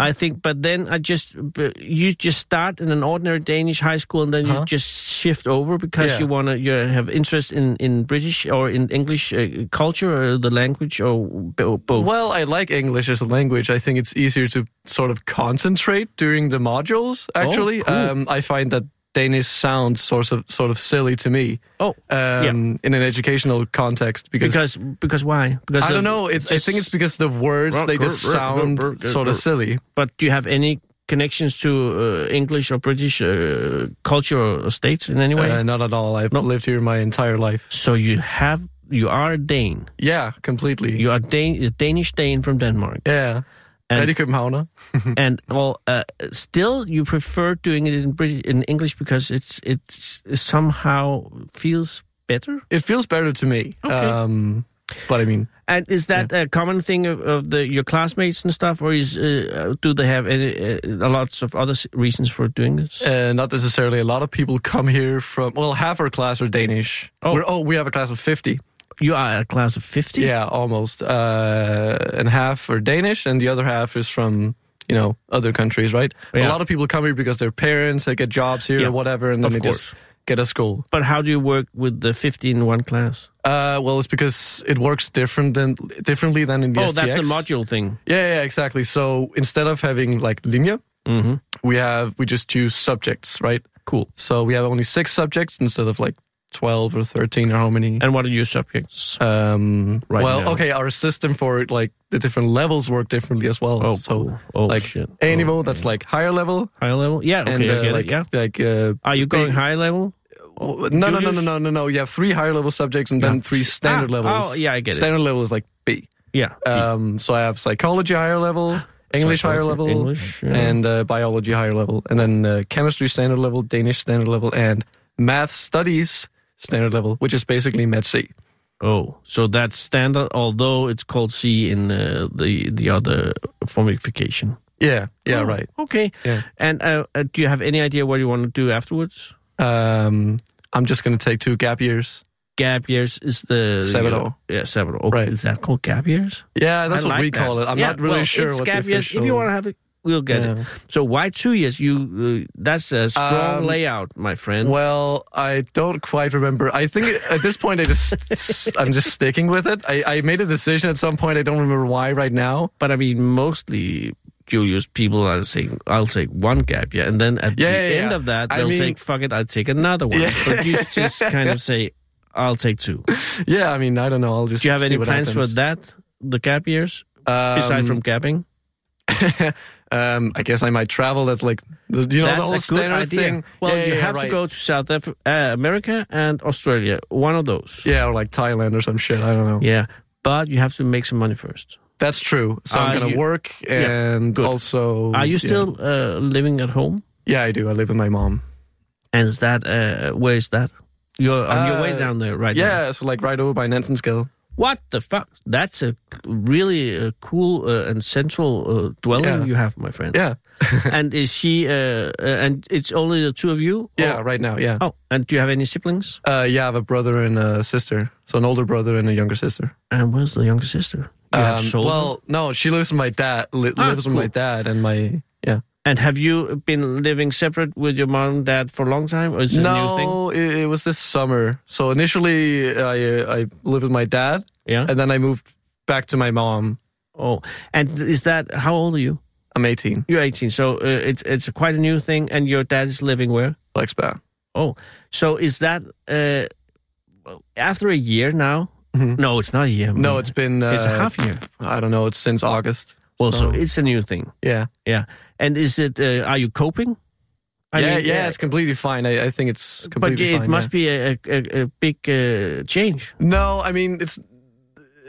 B: <laughs> I think, but then I just but you just start in an ordinary Danish high school, and then you
F: Huh?
B: just shift over because
F: Yeah.
B: you wanna you have interest in in British or in English uh, culture or the language or bo- both.
F: Well, I like English as a language. I think it's easier to sort of concentrate during the modules. Actually,
B: Oh, cool.
F: um, I find that Danish sounds sort of sort of silly to me
B: Oh,
F: um, in an educational context because.
B: because because why? Because
F: I
B: of
F: don't know. It's, I think it's
B: just-
F: because the words they just sound sort of silly.
B: But do you have any connections to uh, English or British uh, culture or states in any way?
F: Uh, not at all. I've lived here my entire life.
B: so you have you are a Dane.
F: Yeah, completely.
B: You are Dan- a Danish Dane from Denmark.
F: yeah.
B: And-
F: Ready Københavner.
B: and well, uh, still you prefer doing it in British in English because it's it's it somehow feels better.
F: It feels better to me.
B: Okay.
F: Um, but I mean,
B: And is that a common thing of, of the your classmates and stuff, or is uh, do they have any, uh, lots of other s- reasons for doing this?
F: Uh, not necessarily. A lot of people come here from. Well, half our class are Danish.
B: Oh.
F: We're, oh, we have a class of fifty.
B: you are a class of fifty.
F: Yeah, almost. Uh, and half are Danish, and the other half is from you know other countries, right?
B: Yeah.
F: A lot of people come here because their parents they get jobs here
B: Yeah,
F: or whatever, and then
B: of
F: they
B: course.
F: just get a school.
B: But how do you work with the fifty in one class?
F: Uh, well, it's because it works different than differently than in the
B: Oh, that's the
F: STX.
B: module thing.
F: Yeah, yeah, exactly. So instead of having like linje,
B: Mm-hmm.
F: we have we just choose subjects, right?
B: Cool.
F: So we have only six subjects instead of like twelve or thirteen or how many.
B: And what are your subjects?
F: Um,
B: Right
F: well,
B: now.
F: okay, our system for like the different levels work differently as well.
B: Oh,
F: so
B: cool. Oh,
F: like
B: shit.
F: A level that's like higher level,
B: High level. Yeah. Okay,
F: and
B: I
F: uh,
B: get
F: like
B: it. Yeah.
F: like uh,
B: Are you going
F: big-
B: high level?
F: No, no, no, no,
B: Julius?
F: no, no, no. You have three higher level subjects and
B: Yeah.
F: then three standard
B: Ah,
F: levels.
B: oh, yeah, I get it.
F: Standard level is like B.
B: Yeah.
F: Um, so I have psychology higher
B: <gasps>
F: level, English higher
B: Hmm. Psychology,
F: level,
B: English, yeah.
F: and uh, biology higher level, and then uh, chemistry standard level, Danish standard level, and math studies standard level, which is basically Med C.
B: Oh, so that's standard, although it's called C in uh, the the other formification.
F: Yeah, yeah,
B: Oh,
F: right.
B: Okay.
F: Yeah.
B: And uh, uh, do you have any idea what you want to do afterwards?
F: Um, I'm just gonna take two gap years.
B: Gap years is the
F: Sabbatår.
B: Yeah, Sabbatår. Okay.
F: Right.
B: Is that called gap years?
F: Yeah, that's
B: I
F: what
B: like
F: we
B: that.
F: call it. I'm
B: Yeah,
F: not really
B: well,
F: sure
B: It's
F: what
B: gap
F: the
B: years. If you
F: official-
B: want to have it, we'll get
F: Yeah.
B: it. So why two years? You uh, that's a strong
F: Um,
B: layout, my friend.
F: Well, I don't quite remember. I think it- at this point, I just I'm just sticking with it. I, I made a decision at some point. I don't remember why right now.
B: but I mean, mostly Julius people are saying, "I'll take one gap year," and then at
F: Yeah,
B: the
F: yeah, yeah.
B: end of that,
F: I
B: they'll
F: mean-
B: say, "Fuck it, I'll take another one." But you just
F: <laughs>
B: kind of say, "I'll take two.
F: Yeah, I mean, I don't know. I'll just.
B: Do you have
F: see
B: any
F: what
B: plans for
F: happens.
B: that? The gap years,
F: Um,
B: besides from gapping?
F: um, I guess I might travel. That's like the- you know the whole
B: That's a good
F: standard
B: idea.
F: thing.
B: Well,
F: Yeah,
B: you
F: yeah,
B: have to
F: right.
B: go to South Af- uh, America and Australia, one of those.
F: Yeah, or like Thailand or some shit. I don't know.
B: Yeah, but you have to make some money first.
F: That's true. So
B: Are
F: I'm gonna
B: you-
F: work
B: Yeah,
F: and
B: good.
F: also.
B: Are you
F: yeah.
B: still uh, living at home?
F: Yeah, I do. I live with my mom.
B: And is that uh, where is that? You're on your way
F: Uh,
B: down there right now.
F: Yeah, so like right over by Nansenskill.
B: What the fuck? That's a really uh, cool uh, and central uh, dwelling
F: Yeah.
B: you have, my friend.
F: Yeah, <laughs>
B: and is she? Uh, uh, and it's only the two of you. Or-
F: yeah, right now. Yeah.
B: Oh, and do you have any siblings?
F: Uh, yeah, I have a brother and a sister. So an older brother and a younger sister.
B: And where's the younger sister? You have
F: Um,
B: sold her?
F: well, no, she lives with my dad. Li-
B: Ah,
F: lives
B: cool.
F: with my dad and my yeah.
B: And have you been living separate with your mom and dad for a long time, or is it a new thing?
F: no, it, it was this summer. So initially, I uh, I lived with my dad,
B: Yeah.
F: and then I moved back to my mom.
B: oh, and is that how old are you?
F: I'm 18,
B: You're 18, so uh, it's it's quite a new thing. And your dad is living where?
F: Lex Bat.
B: Oh, so is that uh, after a year now? No, it's not a year.
F: Mm-hmm. No,
B: man.
F: it's been uh,
B: it's a half year.
F: I don't know. It's since August.
B: Well, so, it's a new thing.
F: yeah,
B: Yeah, and is it? Uh, are you coping? I
F: yeah,
B: mean, uh,
F: yeah, It's completely fine. I, I think it's
B: but
F: completely
B: it
F: fine.
B: must
F: yeah.
B: be a, a, a big uh, change.
F: No, I mean it's.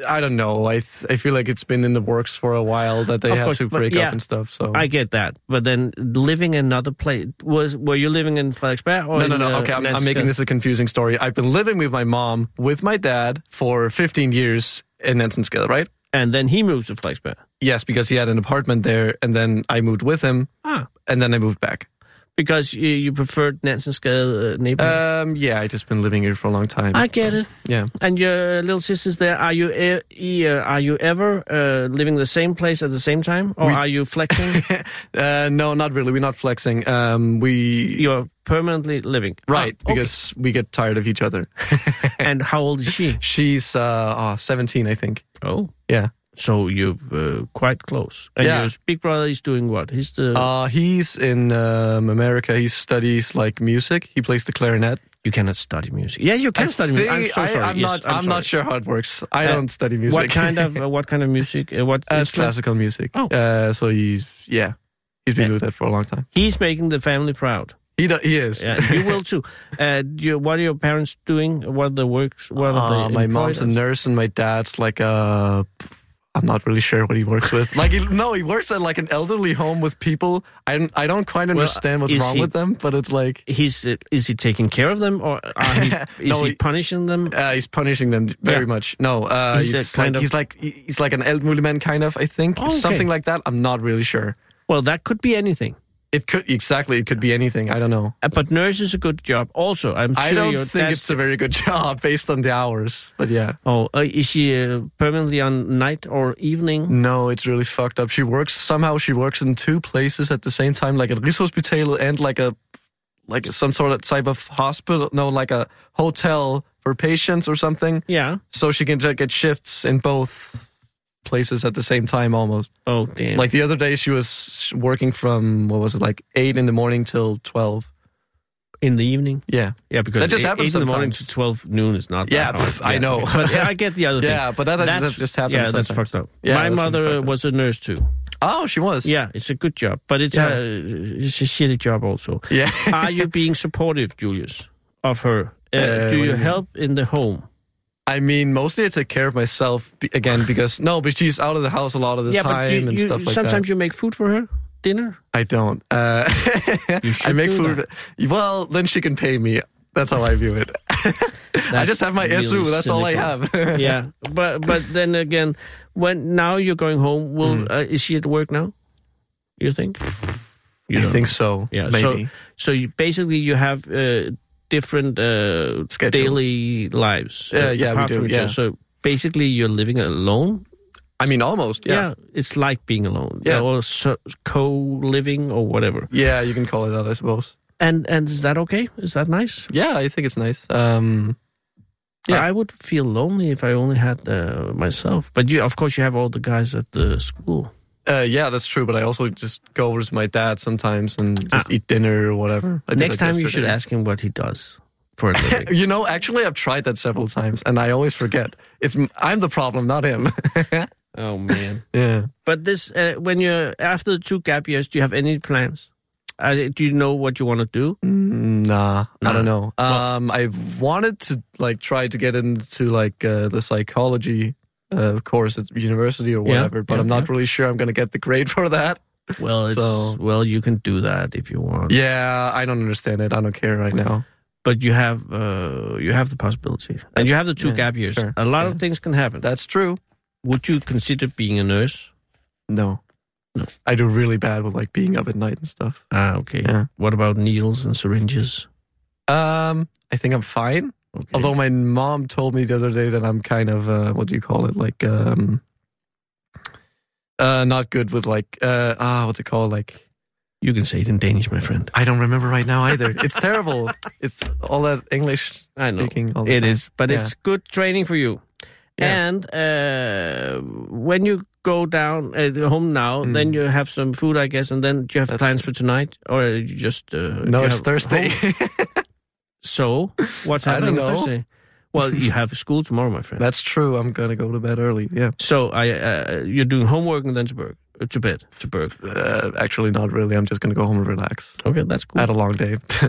F: I don't know. I th- I feel like it's been in the works for a while that they
B: Of
F: had
B: course,
F: to
B: but
F: break
B: yeah,
F: up and stuff. So
B: I get that, but then living in another place was were you living in Frederiksberg or
F: no, no,
B: in,
F: no.
B: uh,
F: Okay, I'm, I'm
B: Nanska?
F: making this a confusing story. I've been living with my mom with my dad for 15 years in Nansenskade, right?
B: And then he moves to Frederiksberg.
F: Yes, because he had an apartment there, and then I moved with him,
B: Ah,
F: and then I moved back.
B: because you, you preferred Nansenskade uh, neighborhood.
F: Um, yeah, I just been living here for a long time.
B: I get it.
F: yeah.
B: And your little sister's there. Are you e- e- uh, are you ever uh, living the same place at the same time, or are you flexing?
F: <laughs> Uh, no, not really. We're not flexing. Um, we
B: You're permanently living,
F: right
B: Ah, okay.
F: because we get tired of each other. <laughs>
B: and how old is she?
F: She's uh, oh, 17, I think.
B: Oh,
F: Yeah.
B: so you're uh, quite close. And
F: Yeah.
B: your big brother is doing what? He's the
F: Uh, he's in um, America. He studies like music. He plays the clarinet.
B: you cannot study music. Yeah, you can study music. I'm
F: think-
B: so
F: I-
B: sorry.
F: I'm
B: yes,
F: not.
B: I'm,
F: I'm, not
B: sorry.
F: sure how it works. I
B: Uh,
F: don't study <laughs> music.
B: What kind
F: <laughs>
B: of uh, what kind of music? Uh, what
F: Uh, it's
B: instrument?
F: classical music.
B: Oh. Uh,
F: Uh, so he's yeah, he's been
B: Yeah.
F: doing that for a long time.
B: He's making the family
F: <laughs>
B: proud.
F: He do, he is.
B: Yeah, you will too. Uh, do you, what are your parents doing? What are the works? What are
F: Uh,
B: they
F: my
B: employed
F: mom's a
B: as?
F: nurse and my dad's like a. I'm not really sure what he works with. Like, he, no, he works at like an elderly home with people. I don't- I don't quite understand
B: is
F: what's wrong
B: he-
F: with them, but it's like
B: he's uh, is he taking care of them or are
F: <laughs>
B: he, is
F: No,
B: he
F: he-
B: punishing them?
F: uh, he's punishing them very
B: Yeah.
F: much. No, uh,
B: He's
F: he's,
B: a
F: like,
B: kind of-
F: he's like he- he's like an elderly man, kind of. I think
B: Oh, okay.
F: something like that. I'm not really sure.
B: Well, that could be anything.
F: It could exactly. It could be anything. I don't know.
B: Uh, but nurse is a good job. Also, I'm sure
F: I don't
B: your
F: think
B: dad's-
F: it's a very good <laughs> job based on the hours. But yeah.
B: Oh, uh, is she uh, permanently on night or evening?
F: No, it's really fucked up. She works somehow. She works in two places at the same time, like a Rigshospital and like a like some sort of type of hospital. No, like a hotel for patients or something.
B: Yeah.
F: So she can just get shifts in both places at the same time, almost.
B: Oh damn.
F: Like the other day, she was working from what was it, like eight in the morning till twelve.
B: in the evening?
F: Yeah,
B: Yeah, because
F: That just
B: eight-
F: happens
B: eight in the morning to
F: sometimes.
B: twelve noon is not.
F: Yeah,
B: that hard.
F: I
B: <laughs>
F: know.
B: okay. But yeah, I get the other thing.
F: yeah, but that
B: That's-
F: just, just happens.
B: yeah, that's
F: sometimes.
B: fucked up.
F: Yeah,
B: My
F: that's really
B: mother
F: fucked up.
B: was a nurse too.
F: Oh, she was.
B: Yeah, it's a good job, but it's, a,
F: Yeah.
B: it's a shitty job also.
F: yeah. <laughs>
B: Are you being supportive, Julius, of her? Uh, do
F: Uh, what do
B: you
F: you mean?
B: help in the home?
F: I mean, mostly I take care of myself be- again because no, but she's out of the house a lot of the time and stuff like
B: sometimes
F: that.
B: you make food for her dinner.
F: I don't. Uh, <laughs>
B: You
F: I
B: should
F: make
B: do
F: food. Well, then she can pay me. That's how I view it. <laughs> I just have my
B: really
F: SU. That's all I
B: cynical.
F: have.
B: yeah, but but then again, when now you're going home, will
F: Mm.
B: uh, is she at work now? You think?
F: <laughs>
B: You
F: I
B: don't
F: think
B: know.
F: so.
B: Yeah.
F: Maybe.
B: So so you basically you have uh, different uh,
F: Schedules.
B: daily lives. uh,
F: Yeah, yeah, we
B: apart
F: do,
B: from each other.
F: yeah.
B: So basically, you're living alone.
F: I mean, almost.
B: Yeah.
F: Yeah.
B: it's like being alone.
F: Yeah.
B: or so, co-living or whatever.
F: yeah. You can call it that, I suppose.
B: And and is that okay? Is that nice?
F: Yeah, I think it's nice. Um, Yeah.
B: I would feel lonely if I only had uh, myself. But you, of course, you have all the guys at the school.
F: uh, yeah, that's true. But I also just go over to my dad sometimes and just eat dinner or whatever. I did
B: Ah. Next
F: that
B: time, you should
F: yesterday.
B: ask him what he does for a
F: <laughs>
B: living.
F: You know, actually, I've tried that several times, and I always forget. It's I'm the problem, not him. <laughs>
B: oh man!
F: yeah.
B: But this, uh, when you're after the two gap years, do you have any plans? Uh, do you know what you want to do?
F: Nah, I
B: Nah.
F: don't know. Um, I wanted to like try to get into like uh, the psychology uh, course at university or
B: Yeah,
F: whatever, but
B: yeah,
F: I'm not
B: yeah.
F: really sure I'm gonna get the grade for that.
B: Well, it's
F: So-
B: well, you can do that if you want.
F: Yeah, I don't understand it. I don't care right now.
B: But you have uh, you have the possibility, and you have the two
F: yeah,
B: gap years.
F: sure.
B: A lot of things can happen.
F: That's true.
B: Would you consider being a nurse?
F: No, no, I do really bad with like being up at night and stuff.
B: Ah, okay.
F: Yeah.
B: What about needles and syringes?
F: Um, I think I'm fine.
B: Okay.
F: Although my mom told me the other day that I'm kind of uh, what do you call it like um uh not good with like uh ah what's it called like
B: You can say it in Danish, my friend.
F: I don't remember right now either. It's terrible. It's all that English
B: I know.
F: speaking. All the
B: It
F: time.
B: is, but
F: Yeah.
B: it's good training for you.
F: Yeah.
B: And uh, when you go down at home now, then you have some food, I guess, and then do you have
F: Mm. That's
B: plans for tonight, or you just uh, do
F: No,
B: you
F: it's
B: have
F: Thursday.
B: home- So what's
F: <laughs> I don't
B: happening on
F: know.
B: Thursday? Well,
F: <laughs>
B: you have school tomorrow, my friend.
F: <laughs> That's true. I'm gonna go to bed early. Yeah.
B: so I, uh, you're doing homework and then to work, uh, to bed, to work.
F: Uh, actually, not really. I'm just gonna go home and relax.
B: Okay, that's
F: I
B: cool.
F: had a long day. <laughs>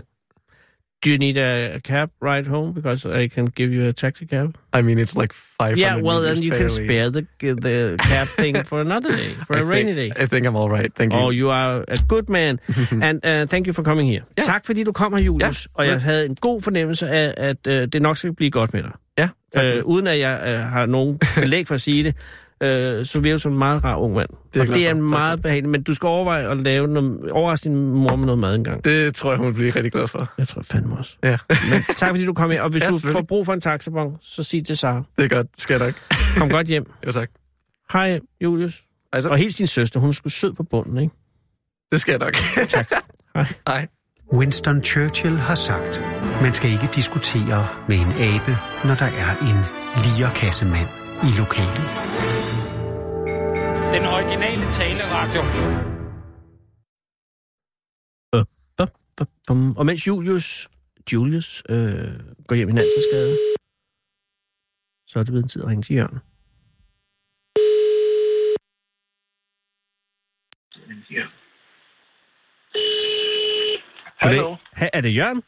B: Do you need a, a cab ride home because I can give you a taxi cab?
F: I mean, it's like five.
B: Yeah, well then you can spare the the cab thing for another day, for a rainy day.
F: <laughs>
B: Oh,
F: I think I'm all right. Thank you.
B: Og you are a good
F: <laughs>
B: man. And uh, thank you for coming here.
F: Ja.
B: Tak fordi du kom her, Julius.
F: Ja.
B: Og jeg havde en god fornemmelse af, at uh, det nok skal blive godt med dig.
F: ja. Tak.
B: Øh, uden at jeg øh, har
F: <laughs>
B: nogen belæg for at sige det, øh, så virker du som en meget rar ung mand.
F: er
B: Det er,
F: jeg
B: og
F: glad
B: det er
F: for.
B: en
F: Tak.
B: meget behagelig, men du skal overveje at lave noget, overraske din mor med noget mad engang.
F: det tror jeg, hun bliver rigtig glad for.
B: Jeg tror fandme også.
F: <laughs> Ja,
B: Men tak fordi du kom her, og hvis
F: Ja,
B: du
F: selvfølgelig.
B: får brug for en taxabon, så sig til Sara.
F: det er godt. Skal jeg nok.
B: Kom godt hjem.
F: Jo, tak.
B: Hej, Julius.
F: Altså,
B: Og helt sin søster, hun skulle sød på bunden, ikke?
F: det skal jeg <laughs> nok. tak.
B: Hej.
F: Hej.
A: Winston Churchill har sagt, man skal ikke diskutere med en abe, når der er en lierkassemand i lokalet.
G: Den originale taleradio.
B: Bum, bum, bum. Og mens Julius, Julius øh, går hjem i Nanserskade, så er det blevet en tid at ringe til Jørgen.
H: Hallo.
B: Ha- er det Jørgen?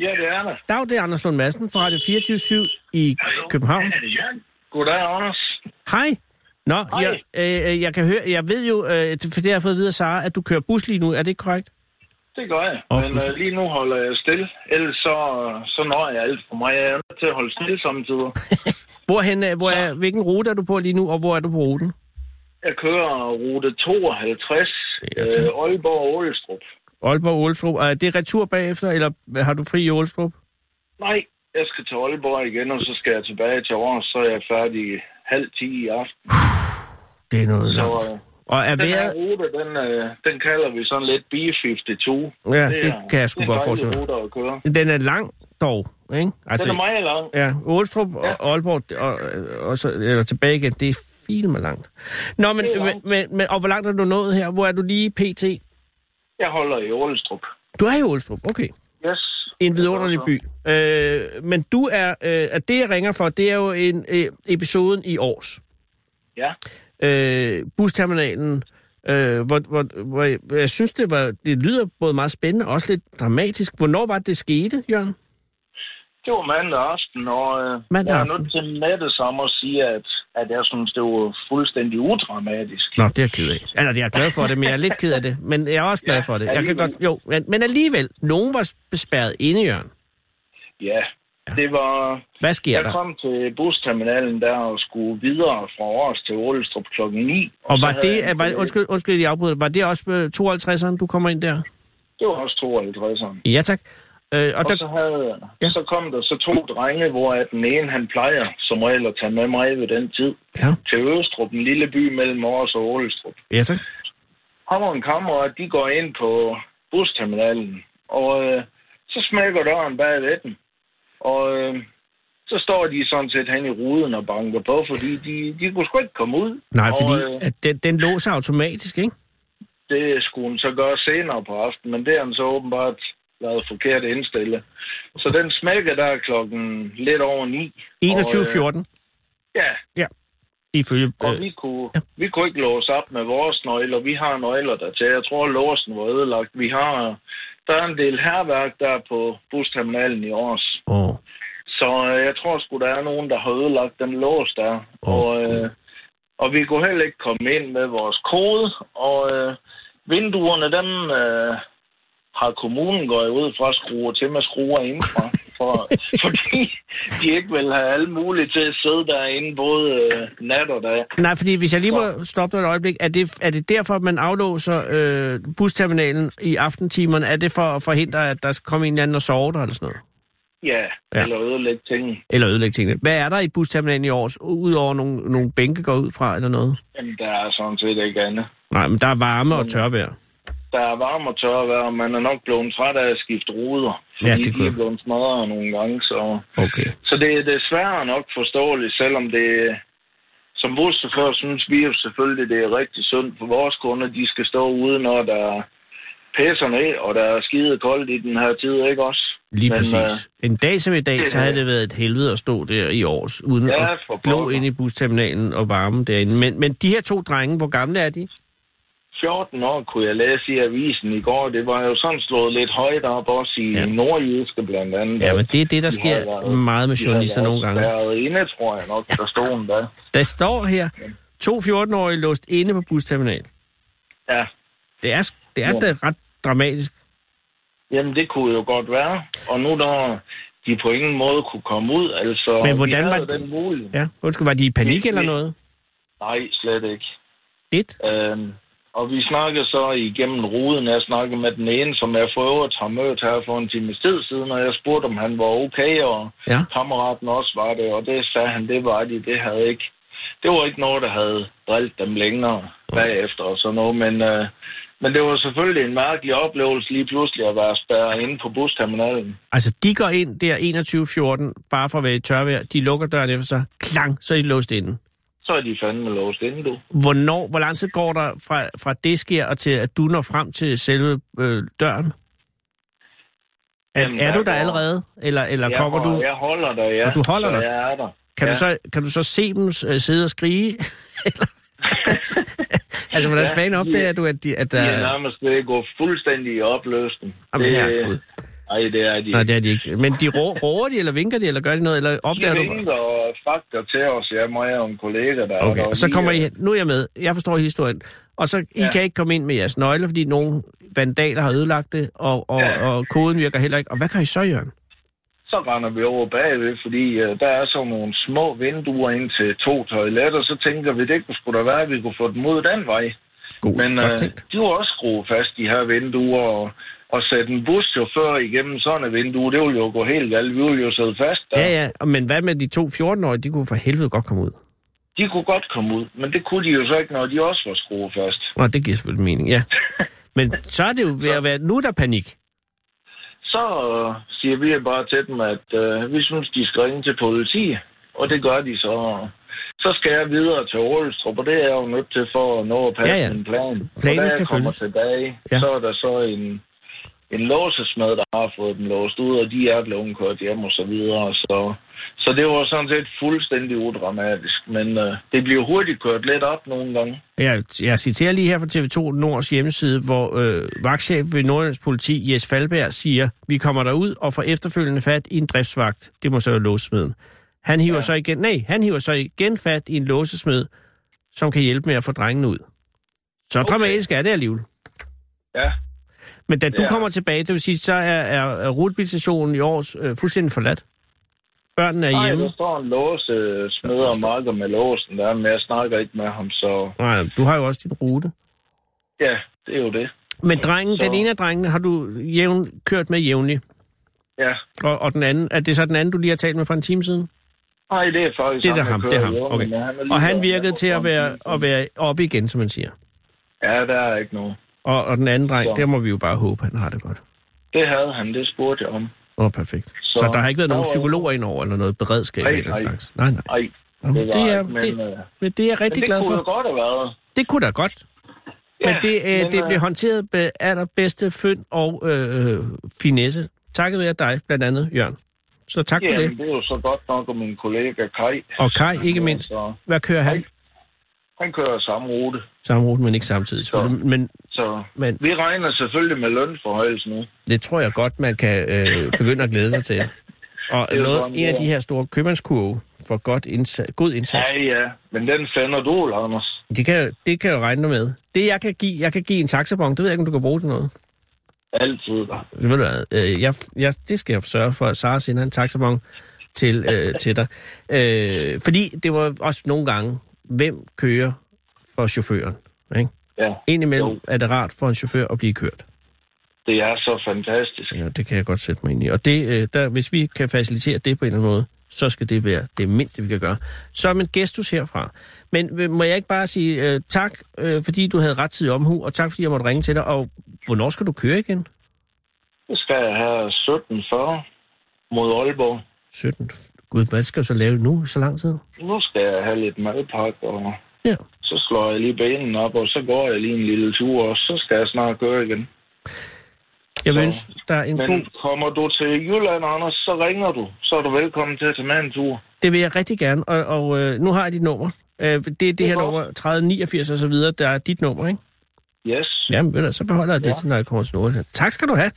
H: Ja, det er Anders.
B: Dag, det er Anders Lund Madsen fra Radio 24 i København.
H: Goddag, Anders.
B: Hej. Nå, Jeg, øh, øh, jeg kan høre, jeg ved jo, øh, det- for det har jeg fået at vide af Sara, at du kører bus lige nu. Er det korrekt?
H: Det gør jeg.
B: Åh,
H: Men
B: Gud.
H: øh, lige nu holder jeg stille. Ellers så, så når jeg alt for mig. Jeg er nødt til at holde stille samtidig.
B: Hvorhen, øh, hvor er, hvilken rute er du på lige nu, og hvor er du på ruten?
H: Jeg kører rute 52,
B: Ja, tak.
H: øh, Aalborg og Ålestrup.
B: Aalborg Ålstrup. Er det retur bagefter, eller har du fri i Ålstrup?
H: Nej, jeg skal til Aalborg igen, og så skal jeg tilbage til Aarhus, så er jeg færdig halv 10 i aften.
B: Det er noget
H: Så
B: langt.
H: øh,
B: Og er
H: den her
B: vejret...
H: rute, den, øh, den kalder vi sådan lidt B-52.
B: Ja,
H: er-
B: det kan jeg sgu
H: det er
B: godt
H: en dejlig
B: forestille mig.
H: rute at køre.
B: Den er lang dog, ikke? Altså,
H: Den er meget lang.
B: Ja, Ålstrup og Aalborg, det- og, og så, eller tilbage igen, det er filme langt. Nå, men,
H: Det er
B: men,
H: langt.
B: men, men, og hvor langt er du nået her? Hvor er du lige pt?
H: Jeg holder i Ålestrup.
B: Du er i Ålstrup, okay.
H: Yes.
B: En vidunderlig by. Øh, men du er, øh, at det jeg ringer for, det er jo en øh, episoden i års.
H: Ja.
B: Øh, busterminalen, øh, hvor, hvor, hvor, jeg, jeg synes, det, var, det lyder både meget spændende og også lidt dramatisk. Hvornår var det, det skete, Jørgen?
H: Det var mandag aften, og øh,
B: Mandag
H: jeg er
B: aften.
H: nødt til med det samme at sige, at, at jeg synes, det var fuldstændig udramatisk.
B: Nå, det er jeg ked af. Eller, jeg er glad for det, men jeg er lidt ked af det. Men jeg er også glad for det. Jeg kan
H: alligevel.
B: godt, jo, men, men alligevel, nogen var bespærret inde, Jørgen.
H: Ja, det var...
B: Hvad sker
H: Jeg
B: der?
H: kom til busterminalen der og skulle videre fra Aarhus til Ålestrup kl. 9.
B: Og
H: så
B: var
H: havde jeg
B: det,
H: en-
B: var, undskyld, undskyld, jeg afbryder, var det også øh, 52'eren, du kommer ind der?
H: Det var også 52'eren.
B: Ja, tak. Øh, og
H: Og så,
B: der,
H: havde,
B: Ja.
H: ja. så kom der så to drenge, hvor at den ene han plejer som regel at tage med mig ved den tid
B: ja,
H: til Østrup, en lille by mellem Aarhus og Ålestrup.
B: ja, tak.
H: ham og en kammerat, de går ind på busterminalen, og øh, så smækker døren bag ved dem. Og øh, så står de sådan set hen i ruden og banker på, fordi de, de kunne sgu ikke komme ud.
B: Nej,
H: og,
B: fordi
H: Øh,
B: at den, den låser automatisk, ikke?
H: det skulle hun så gøre senere på aftenen, men det har han så åbenbart lavet forkert indstille. Så den smækker der klokken lidt over ni. Og, øh,
B: 21.14,
H: ja,
B: ifølge...
H: og
B: Øh,
H: vi, kunne, vi kunne ikke låse op med vores nøgler. Vi har nøgler der til. Jeg tror, låsen var ødelagt. Vi har, der er en del herværk der på busterminalen i Aarhus.
B: åh,
H: Så øh, jeg tror sgu, der er nogen, der har ødelagt den lås der.
B: Åh,
H: og, øh, og vi kunne heller ikke komme ind med vores kode. Og øh, vinduerne, dem øh, har kommunen gået ud fra at skrue til med skruer
B: <laughs>
H: indfra. For, fordi de ikke vil have alle mulige til at sidde derinde både øh, nat og dag.
B: Nej, fordi hvis jeg lige må stoppe dig et øjeblik, er det, er det derfor, man aflåser øh, busterminalen i aftentimerne? Er det for at forhindre, at der kommer en eller anden og sover der, eller sådan noget?
H: Ja,
B: Ja.
H: ja. eller ødelægge ting.
B: Eller ødelægge tingene. Hvad er der i busterminalen i år, udover nogle, nogle bænke går ud fra, eller noget?
H: Jamen, der er sådan set ikke andet.
B: Nej, men der er varme og tørvejr.
H: der er varme og tørre vejr, og man er nok blevet træt af at skifte ruder. Fordi
B: Ja, det kunne
H: de
B: jeg-
H: er blevet smadret nogle gange, så...
B: Okay.
H: Så det, det er svært nok forståeligt, selvom det... Som buschauffør synes vi jo selvfølgelig, det er rigtig synd for vores kunder. De skal stå ude, når der pisser ned, og der er skide koldt i den her tid, ikke også?
B: Lige Men,
H: Men,
B: præcis. En dag som i dag, så
H: øh,
B: havde det været et helvede at stå der i års, uden
H: Ja,
B: at
H: for
B: glå
H: pokker.
B: ind i busterminalen og varme derinde. Men, men de her to drenge, hvor gamle er de?
H: 14 år kunne jeg læse i avisen i går. Det var jo sådan slået lidt højt op, også i
B: Ja.
H: ja. nordjyske blandt andet. altså.
B: Ja, men det er det, der
H: De har
B: sker
H: været-
B: meget med
H: de har
B: journalister
H: været
B: nogle gange.
H: spærret inde, tror jeg nok, der stod en der.
B: Der står her, to 14-årige låst inde på busterminalen.
H: Ja,
B: Det er, sk- det er da ret dramatisk.
H: Jamen, det kunne jo godt være. Og nu når de på ingen måde kunne komme ud, altså...
B: Men hvordan
H: vi
B: var
H: havde
B: det-
H: den mulighed.
B: Ja, undskyld, var de i panik
H: Det-
B: eller
H: det-
B: noget?
H: Nej, slet ikke.
B: Et?
H: Øhm, og vi snakkede så igennem ruden. Jeg snakkede med den ene, som jeg for øvrigt har mødt her for en times tid siden, og jeg spurgte, om han var okay, og
B: Ja.
H: kammeraten også var det, og det sagde han, det var de, det havde ikke. Det var ikke noget, der havde drillet dem længere bagefter og sådan noget, men, øh, men det var selvfølgelig en mærkelig oplevelse lige pludselig at være spærret inde på busterminalen.
B: Altså, de går ind der 21.14, bare for at være i tørvejr. De lukker døren efter sig. Klang, så er de låst inde.
H: Så er de fandme låst inde, du.
B: Hvornår, hvor lang tid går der fra, fra det sker, og til at du når frem til selve øh, døren? Er,
H: Jamen,
B: er
H: der
B: du der
H: går-
B: allerede, eller, eller
H: Jeg,
B: kommer
H: holder-
B: du?
H: Jeg holder dig, ja.
B: Og du holder
H: så
B: dig?
H: Jeg er der.
B: Kan, du
H: ja.
B: så, kan du så se dem øh, sidde og skrige? <laughs> Eller- altså, hvordan
H: Ja,
B: fanden
H: de-
B: opdager du, at, de, at der...
H: De er nærmest ved at gå fuldstændig i opløsning.
B: Jamen, herregud.
H: Nej, det er de.
B: Nej, det er de ikke. Men de rå, råber de, eller vinker de, eller gør de noget, eller opdager
H: de
B: du...
H: ringer og fakter til os. Jeg må have en kollega, der er
B: Okay,
H: der.
B: og så
H: lige-
B: kommer I hen. Nu er jeg med. Jeg forstår historien. Og så, I
H: Ja.
B: kan ikke komme ind med jeres nøgler, fordi nogle vandaler har ødelagt det, og, og,
H: Ja.
B: og koden virker heller ikke. Og hvad gør I så, Jørgen?
H: Så render vi over bagved, fordi øh, der er sådan nogle små vinduer ind til to toiletter. Så tænker vi, det kunne sgu da være, at vi kunne få dem ud den vej.
B: God,
H: Men
B: godt
H: øh,
B: tænkt.
H: de var også skruet fast, de her vinduer, og, og sætte en buschauffør igennem sådan et vindue, det ville jo gå helt galt. Vi ville jo sidde fast der.
B: Ja, ja, og men hvad med de to 14-årige? De kunne for helvede godt komme ud.
H: De kunne godt komme ud, men det kunne de jo så ikke, når de også var skruet fast.
B: Nå, det giver selvfølgelig mening,
H: <laughs>
B: ja. Men så er det jo ved at være... Nu er der panik.
H: Så øh, siger vi bare til dem, at øh, vi synes, de skal ringe til politiet, og det gør de så. Så skal jeg videre til Aarhustrup, og det er jeg jo nødt til for at nå at passe
B: Ja, ja.
H: min plan.
B: Planen
H: og da
B: skal
H: jeg kommer
B: følges.
H: tilbage,
B: Ja.
H: ja. så er der så en, en låsesmed, der har fået dem låst ud, og de er blevet kørt hjem og så videre. Så, så det var sådan set fuldstændig udramatisk, men øh, det bliver hurtigt kørt lidt op nogle gange.
B: Jeg, jeg citerer lige her fra TV2 Nords hjemmeside, hvor øh, vagtchef ved Nordjyllands politi, Jes Falberg, siger, vi kommer derud og får efterfølgende fat i en driftsvagt. Det må så jo låsesmeden. Han hiver ja. så igen, nej, han hiver så igen fat i en låsesmed, som kan hjælpe med at få drengen ud. Så okay. dramatisk er det alligevel.
H: Ja,
B: Men da du
H: Ja.
B: kommer tilbage, det vil sige, så er, er, er rutebilstationen i år øh, fuldstændig forladt. Børnene er
H: Nej, altså.
B: hjemme.
H: der står en låsesmed og marker med låsen der, men jeg snakker ikke med ham, så
B: Nej, du har jo også din rute.
H: ja, det er jo det.
B: Men drengen,
H: Så-
B: den ene af drengene har du jævn, kørt med jævnligt.
H: Ja.
B: Og, og den anden, er det så den anden, du lige har talt med for en time siden?
H: Nej, det er faktisk
B: Det er da
H: der
B: ham, det er ham. Okay. Og han virkede til at være, at være oppe igen, som man siger.
H: Ja, der er ikke noget.
B: Og, og den anden dreng,
H: Så.
B: der må vi jo bare håbe, han har det godt.
H: Det havde han, det spurgte jeg om.
B: Åh, oh, perfekt. Så, så der har ikke været nogen psykologer indover, eller noget beredskab
H: Nej,
B: eller den
H: nej.
B: slags? Nej, nej.
H: Ej,
B: Nå,
H: det, var
B: det, er,
H: ikke, men, øh,
B: det, men det er jeg
H: men
B: rigtig
H: det
B: glad for.
H: kunne jo godt have været.
B: Det kunne da godt. Men
H: Ja,
B: det, øh,
H: men,
B: det
H: øh,
B: blev håndteret med allerbedste fynd og øh, øh, finesse. Takket være dig, blandt andet, Jørgen. Så tak for
H: Jamen,
B: det.
H: det. er jo så godt nok, og min kollega Kai.
B: Og Kai, ikke
H: Ja,
B: mindst.
H: Så,
B: Hvad kører han?
H: Hej. han kører samme rute,
B: Samme rute, men ikke samtidig.
H: Så.
B: selvfølgelig. Men,
H: så
B: men
H: vi regner selvfølgelig med lønforhøjelse nu.
B: det tror jeg godt, man kan øh, begynde at glæde sig til. Og
H: er jo
B: noget,
H: sådan,
B: en af
H: det
B: de
H: er.
B: her store købmandskurve for godt indsats, god indsats,
H: Ja, ja, men den sender du, Anders.
B: det kan, det kan jeg jo regne med. Det, jeg kan give, jeg kan give en taxabon, det ved jeg ikke, om du kan bruge til noget.
H: Altid.
B: Ved du hvad, øh, jeg, jeg, det skal jeg sørge for, at Sara sender en taxabon til, øh, til dig. Øh, fordi det var også nogle gange, hvem kører for chaufføren? Ikke?
H: Ja,
B: Indimellem
H: Jo.
B: er det rart for en chauffør at blive kørt.
H: det er så fantastisk.
B: Ja, det kan jeg godt sætte mig ind i. Og det, øh, der, hvis vi kan facilitere det på en eller anden måde, så skal det være det mindste, vi kan gøre. Som en gestus herfra. Men øh, må jeg ikke bare sige øh, tak, øh, fordi du havde ret tid omhu, og tak, fordi jeg måtte ringe til dig. Og hvornår skal du køre igen?
H: Så skal jeg have 17.40 mod Aalborg.
B: 17. Gud, hvad skal du så lave nu i så lang tid?
H: Nu skal jeg have lidt madpakke, og
B: Ja.
H: så slår jeg lige benen op, og så går jeg lige en lille tur, og så skal jeg snart køre igen.
B: Jeg vil
H: Så-
B: ønske dig en
H: Men
B: god...
H: kommer du til Jylland, Anders, så ringer du. Så er du velkommen til at tage med en tur.
B: Det vil jeg rigtig gerne, og, og øh, nu har jeg dit nummer. Øh, det er det her
H: Hvorfor?
B: nummer, 3089 og så videre, der er dit nummer, ikke?
H: Yes.
B: Jamen, ved du, så beholder jeg det,
H: Ja.
B: til, når jeg kommer til Nordjylland. Tak skal du have.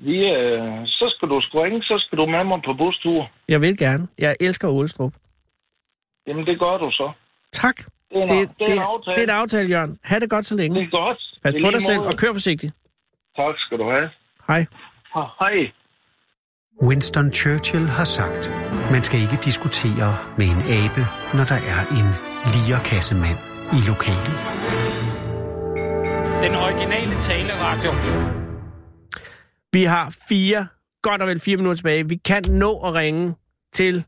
H: Vi, øh, så skal du sgu ringe, så skal du med mig på bustur.
B: Jeg vil gerne. Jeg elsker Ålestrup.
H: Jamen, det gør du så.
B: Tak.
H: Det er en, det, det er en aftale.
B: det er en aftale, Jørgen. Ha' det godt så
H: det
B: længe.
H: er godt.
B: Pas
H: I
B: på
H: lige
B: dig selv,
H: måde.
B: og kør forsigtigt.
H: Tak skal du have.
B: Hej.
H: Ha- Hej.
A: Winston Churchill har sagt, man skal ikke diskutere med en abe, når der er en lierkassemand i lokalet.
G: Den originale taleradio.
B: Vi har fire, godt og vel fire minutter tilbage. Vi kan nå at ringe til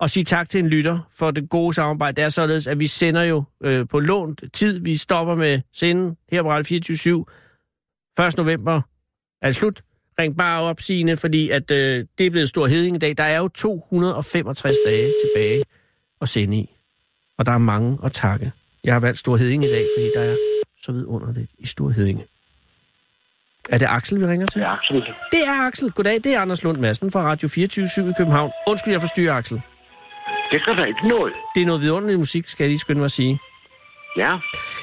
B: og sige tak til en lytter for det gode samarbejde. Det er således, at vi sender jo øh, på lånt tid. Vi stopper med senden her på Radio 24 1. november er det slut. Ring bare op, Signe, fordi at, øh, det er blevet stor hedning i dag. Der er jo 265 dage tilbage at sende i. Og der er mange at takke. Jeg har valgt stor hedning i dag, fordi der er så vidunderligt i stor hedning. Er det Axel, vi ringer til?
H: Ja, absolut.
B: Det er Axel. Goddag, det er Anders Lund Madsen fra Radio 24 i København. Undskyld, jeg forstyrrer, Axel.
I: Det gør der ikke noget.
B: Det er noget vidunderlig musik, skal jeg lige skynde mig at sige.
I: Ja,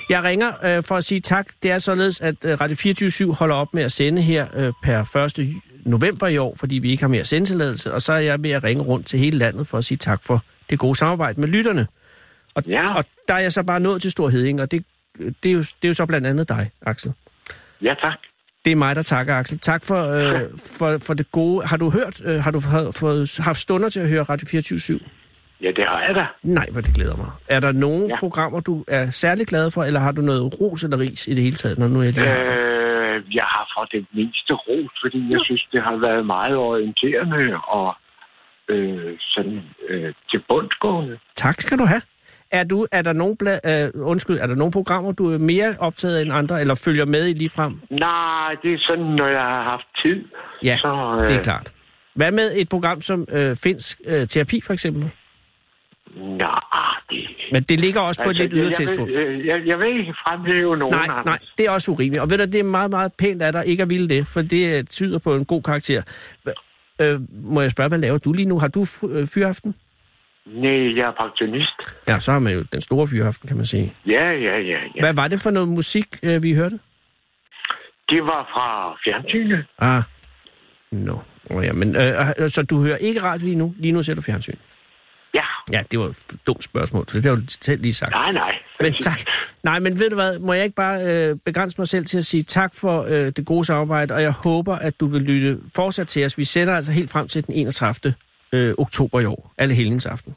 B: Jeg ringer øh, for at sige tak. Det er således, at øh, Radio 24 holder op med at sende her øh, per 1. j- november i år, fordi vi ikke har mere sendetilladelse, og så er jeg ved at ringe rundt til hele landet for at sige tak for det gode samarbejde med lytterne. Og,
I: Ja.
B: og der er jeg så bare nået til stor heding, og det, det, er jo, det er jo så blandt andet dig, Axel.
I: ja tak.
B: Det er mig, der takker, Axel. Tak for, øh, for, for det gode. Har du hørt, øh, har du ha- fået, haft stunder til at høre Radio 24
I: Ja, det har jeg da.
B: Nej, hvor det glæder mig. Er der nogle ja.
I: Ja.
B: programmer, du er særlig glad for, eller har du noget ros eller ris i det hele taget, når nu jeg lige har dig?
I: Øh, jeg har fået det meste ros, fordi jeg synes, det har været meget orienterende og øh, sådan øh, til bundsgående.
B: Tak skal du have. Er, du, er, der nogle bla, øh, undskyld, er der nogle programmer, du er mere optaget af end andre, eller følger med i ligefrem?
I: Nej, det er sådan, når jeg har haft tid.
B: Ja,
I: så, øh,
B: det er klart. Hvad med et program som øh, finsk øh, terapi, for eksempel?
I: Nej, det... Altså,
B: Men det ligger også på et lidt
I: jeg,
B: ydre
I: jeg,
B: tidspunkt.
I: vil, øh, jeg, jeg vil ikke fremhæve nogen.
B: Nej,
I: Anders.
B: nej, det er også urimeligt. Og ved du, det er meget, meget pænt af dig ikke at ville det, for det øh, tyder på en god karakter. Hva- Øh, må jeg spørge, hvad laver du lige nu? Har du f- øh, fyraften?
I: Nej, jeg er pensionist.
B: Ja, så har man jo den store fyraften, kan man sige.
I: Ja, ja, ja. ja.
B: Hvad var det for noget musik, øh, vi hørte?
I: Det var fra fjernsynet.
B: Ah, no. Oh, ja, men, øh, øh, så du hører ikke radio lige nu? Lige nu ser du fjernsyn.
I: Ja,
B: Ja, det var et dumt spørgsmål, for det har du selv lige sagt.
I: nej, nej.
B: Men tak. Nej, men ved du hvad, må jeg ikke bare øh, begrænse mig selv til at sige tak for øh, det gode samarbejde, og jeg håber, at du vil lytte fortsat til os. Vi sender altså helt frem til den 31. Øh, oktober i år, alle helgens aften.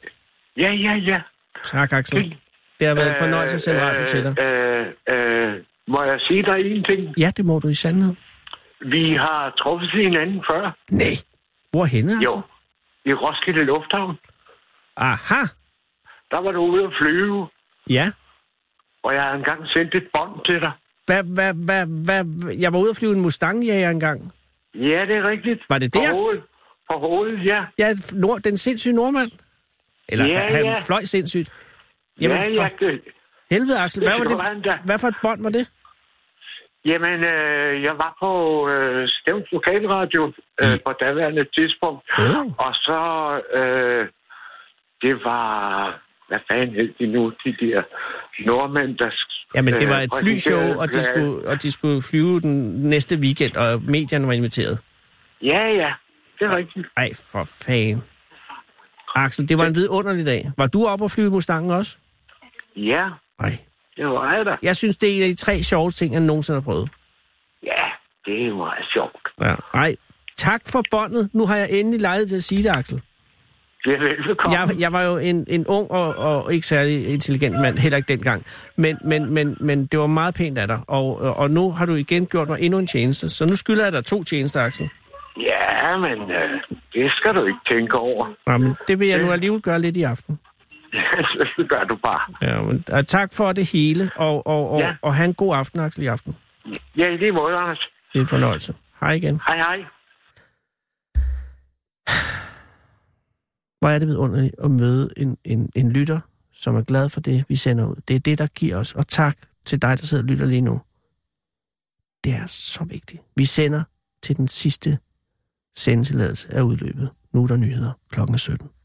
I: Ja, ja, ja.
B: Tak, Axel. Det har været en fornøjelse at sende radio til dig.
I: Øh, øh, øh, må jeg sige dig en ting?
B: Ja, det må du i sandhed.
I: Vi har truffet hinanden før.
B: Nej. Hvorhenne, altså?
I: Jo. I Roskilde Lufthavn.
B: Aha.
I: Der var du ude at flyve,
B: Ja.
I: og jeg har engang sendt et bånd til dig.
B: Hvad, hvad, hvad, hvad, hvad? Jeg var ude at flyve en Mustang-jager engang.
I: Ja, det er rigtigt.
B: Var det der?
I: På hovedet. På hovedet, ja.
B: Ja, nord, den sindssyge nordmand. Eller
I: Ja,
B: han, han
I: ja.
B: fløj sindssygt. Jamen,
I: ja,
B: for
I: ja. Det,
B: helvede, Axel.
I: det
B: Hvad, var
I: skulle han da.
B: det, hvad for et bånd var det?
I: jamen, øh, jeg var på øh, Stævns Lokalradio øh, på daværende tidspunkt.
B: Mm. Åh.
I: Og så, øh, det var... Hvad fanden hed de nu, de der nordmænd, der... sk-
B: Jamen, det
I: øh,
B: var et flyshow,
I: præsenterede
B: og de,
I: pladen.
B: skulle, og de skulle flyve den næste weekend, og medierne var inviteret.
I: Ja, ja. Det er rigtigt.
B: Ej, for fanden. Axel, det var en vidunderlig dag. Var du oppe og flyve i Mustangen også?
I: Ja,
B: Nej.
I: det var jeg da.
B: Jeg synes, det er en af de tre sjove ting, jeg nogensinde har prøvet.
I: Ja, det var sjovt.
B: Ja. Ej, tak for båndet. Nu har jeg endelig lejet til at sige det, Axel.
I: Det er velbekomme.
B: Jeg, jeg var jo en, en ung og, og ikke særlig intelligent mand, heller ikke dengang. Men, men, men, men det var meget pænt af dig, og, og nu har du igen gjort mig endnu en tjeneste. Så nu skylder jeg dig to tjenester, Axel.
H: Ja, men øh, det skal du ikke tænke over. <laughs>
B: Jamen, det vil jeg nu alligevel gøre lidt i aften.
H: det gør du bare.
B: Ja, men, og tak for det hele, og, og, og, ja.
H: Ja.
B: og have en god aften, Axel, i aften.
H: Ja, i lige måde, Anders.
B: Det er en fornøjelse. Hej igen.
H: Hej, hej.
B: Hvor er det vidunderligt at møde en, en, en lytter, som er glad for det, vi sender ud. Det er det, der giver os. Og tak til dig, der sidder og lytter lige nu. Det er så vigtigt. Vi sender til den sidste sendetilladelse er udløbet. Nu er der nyheder klokken 17.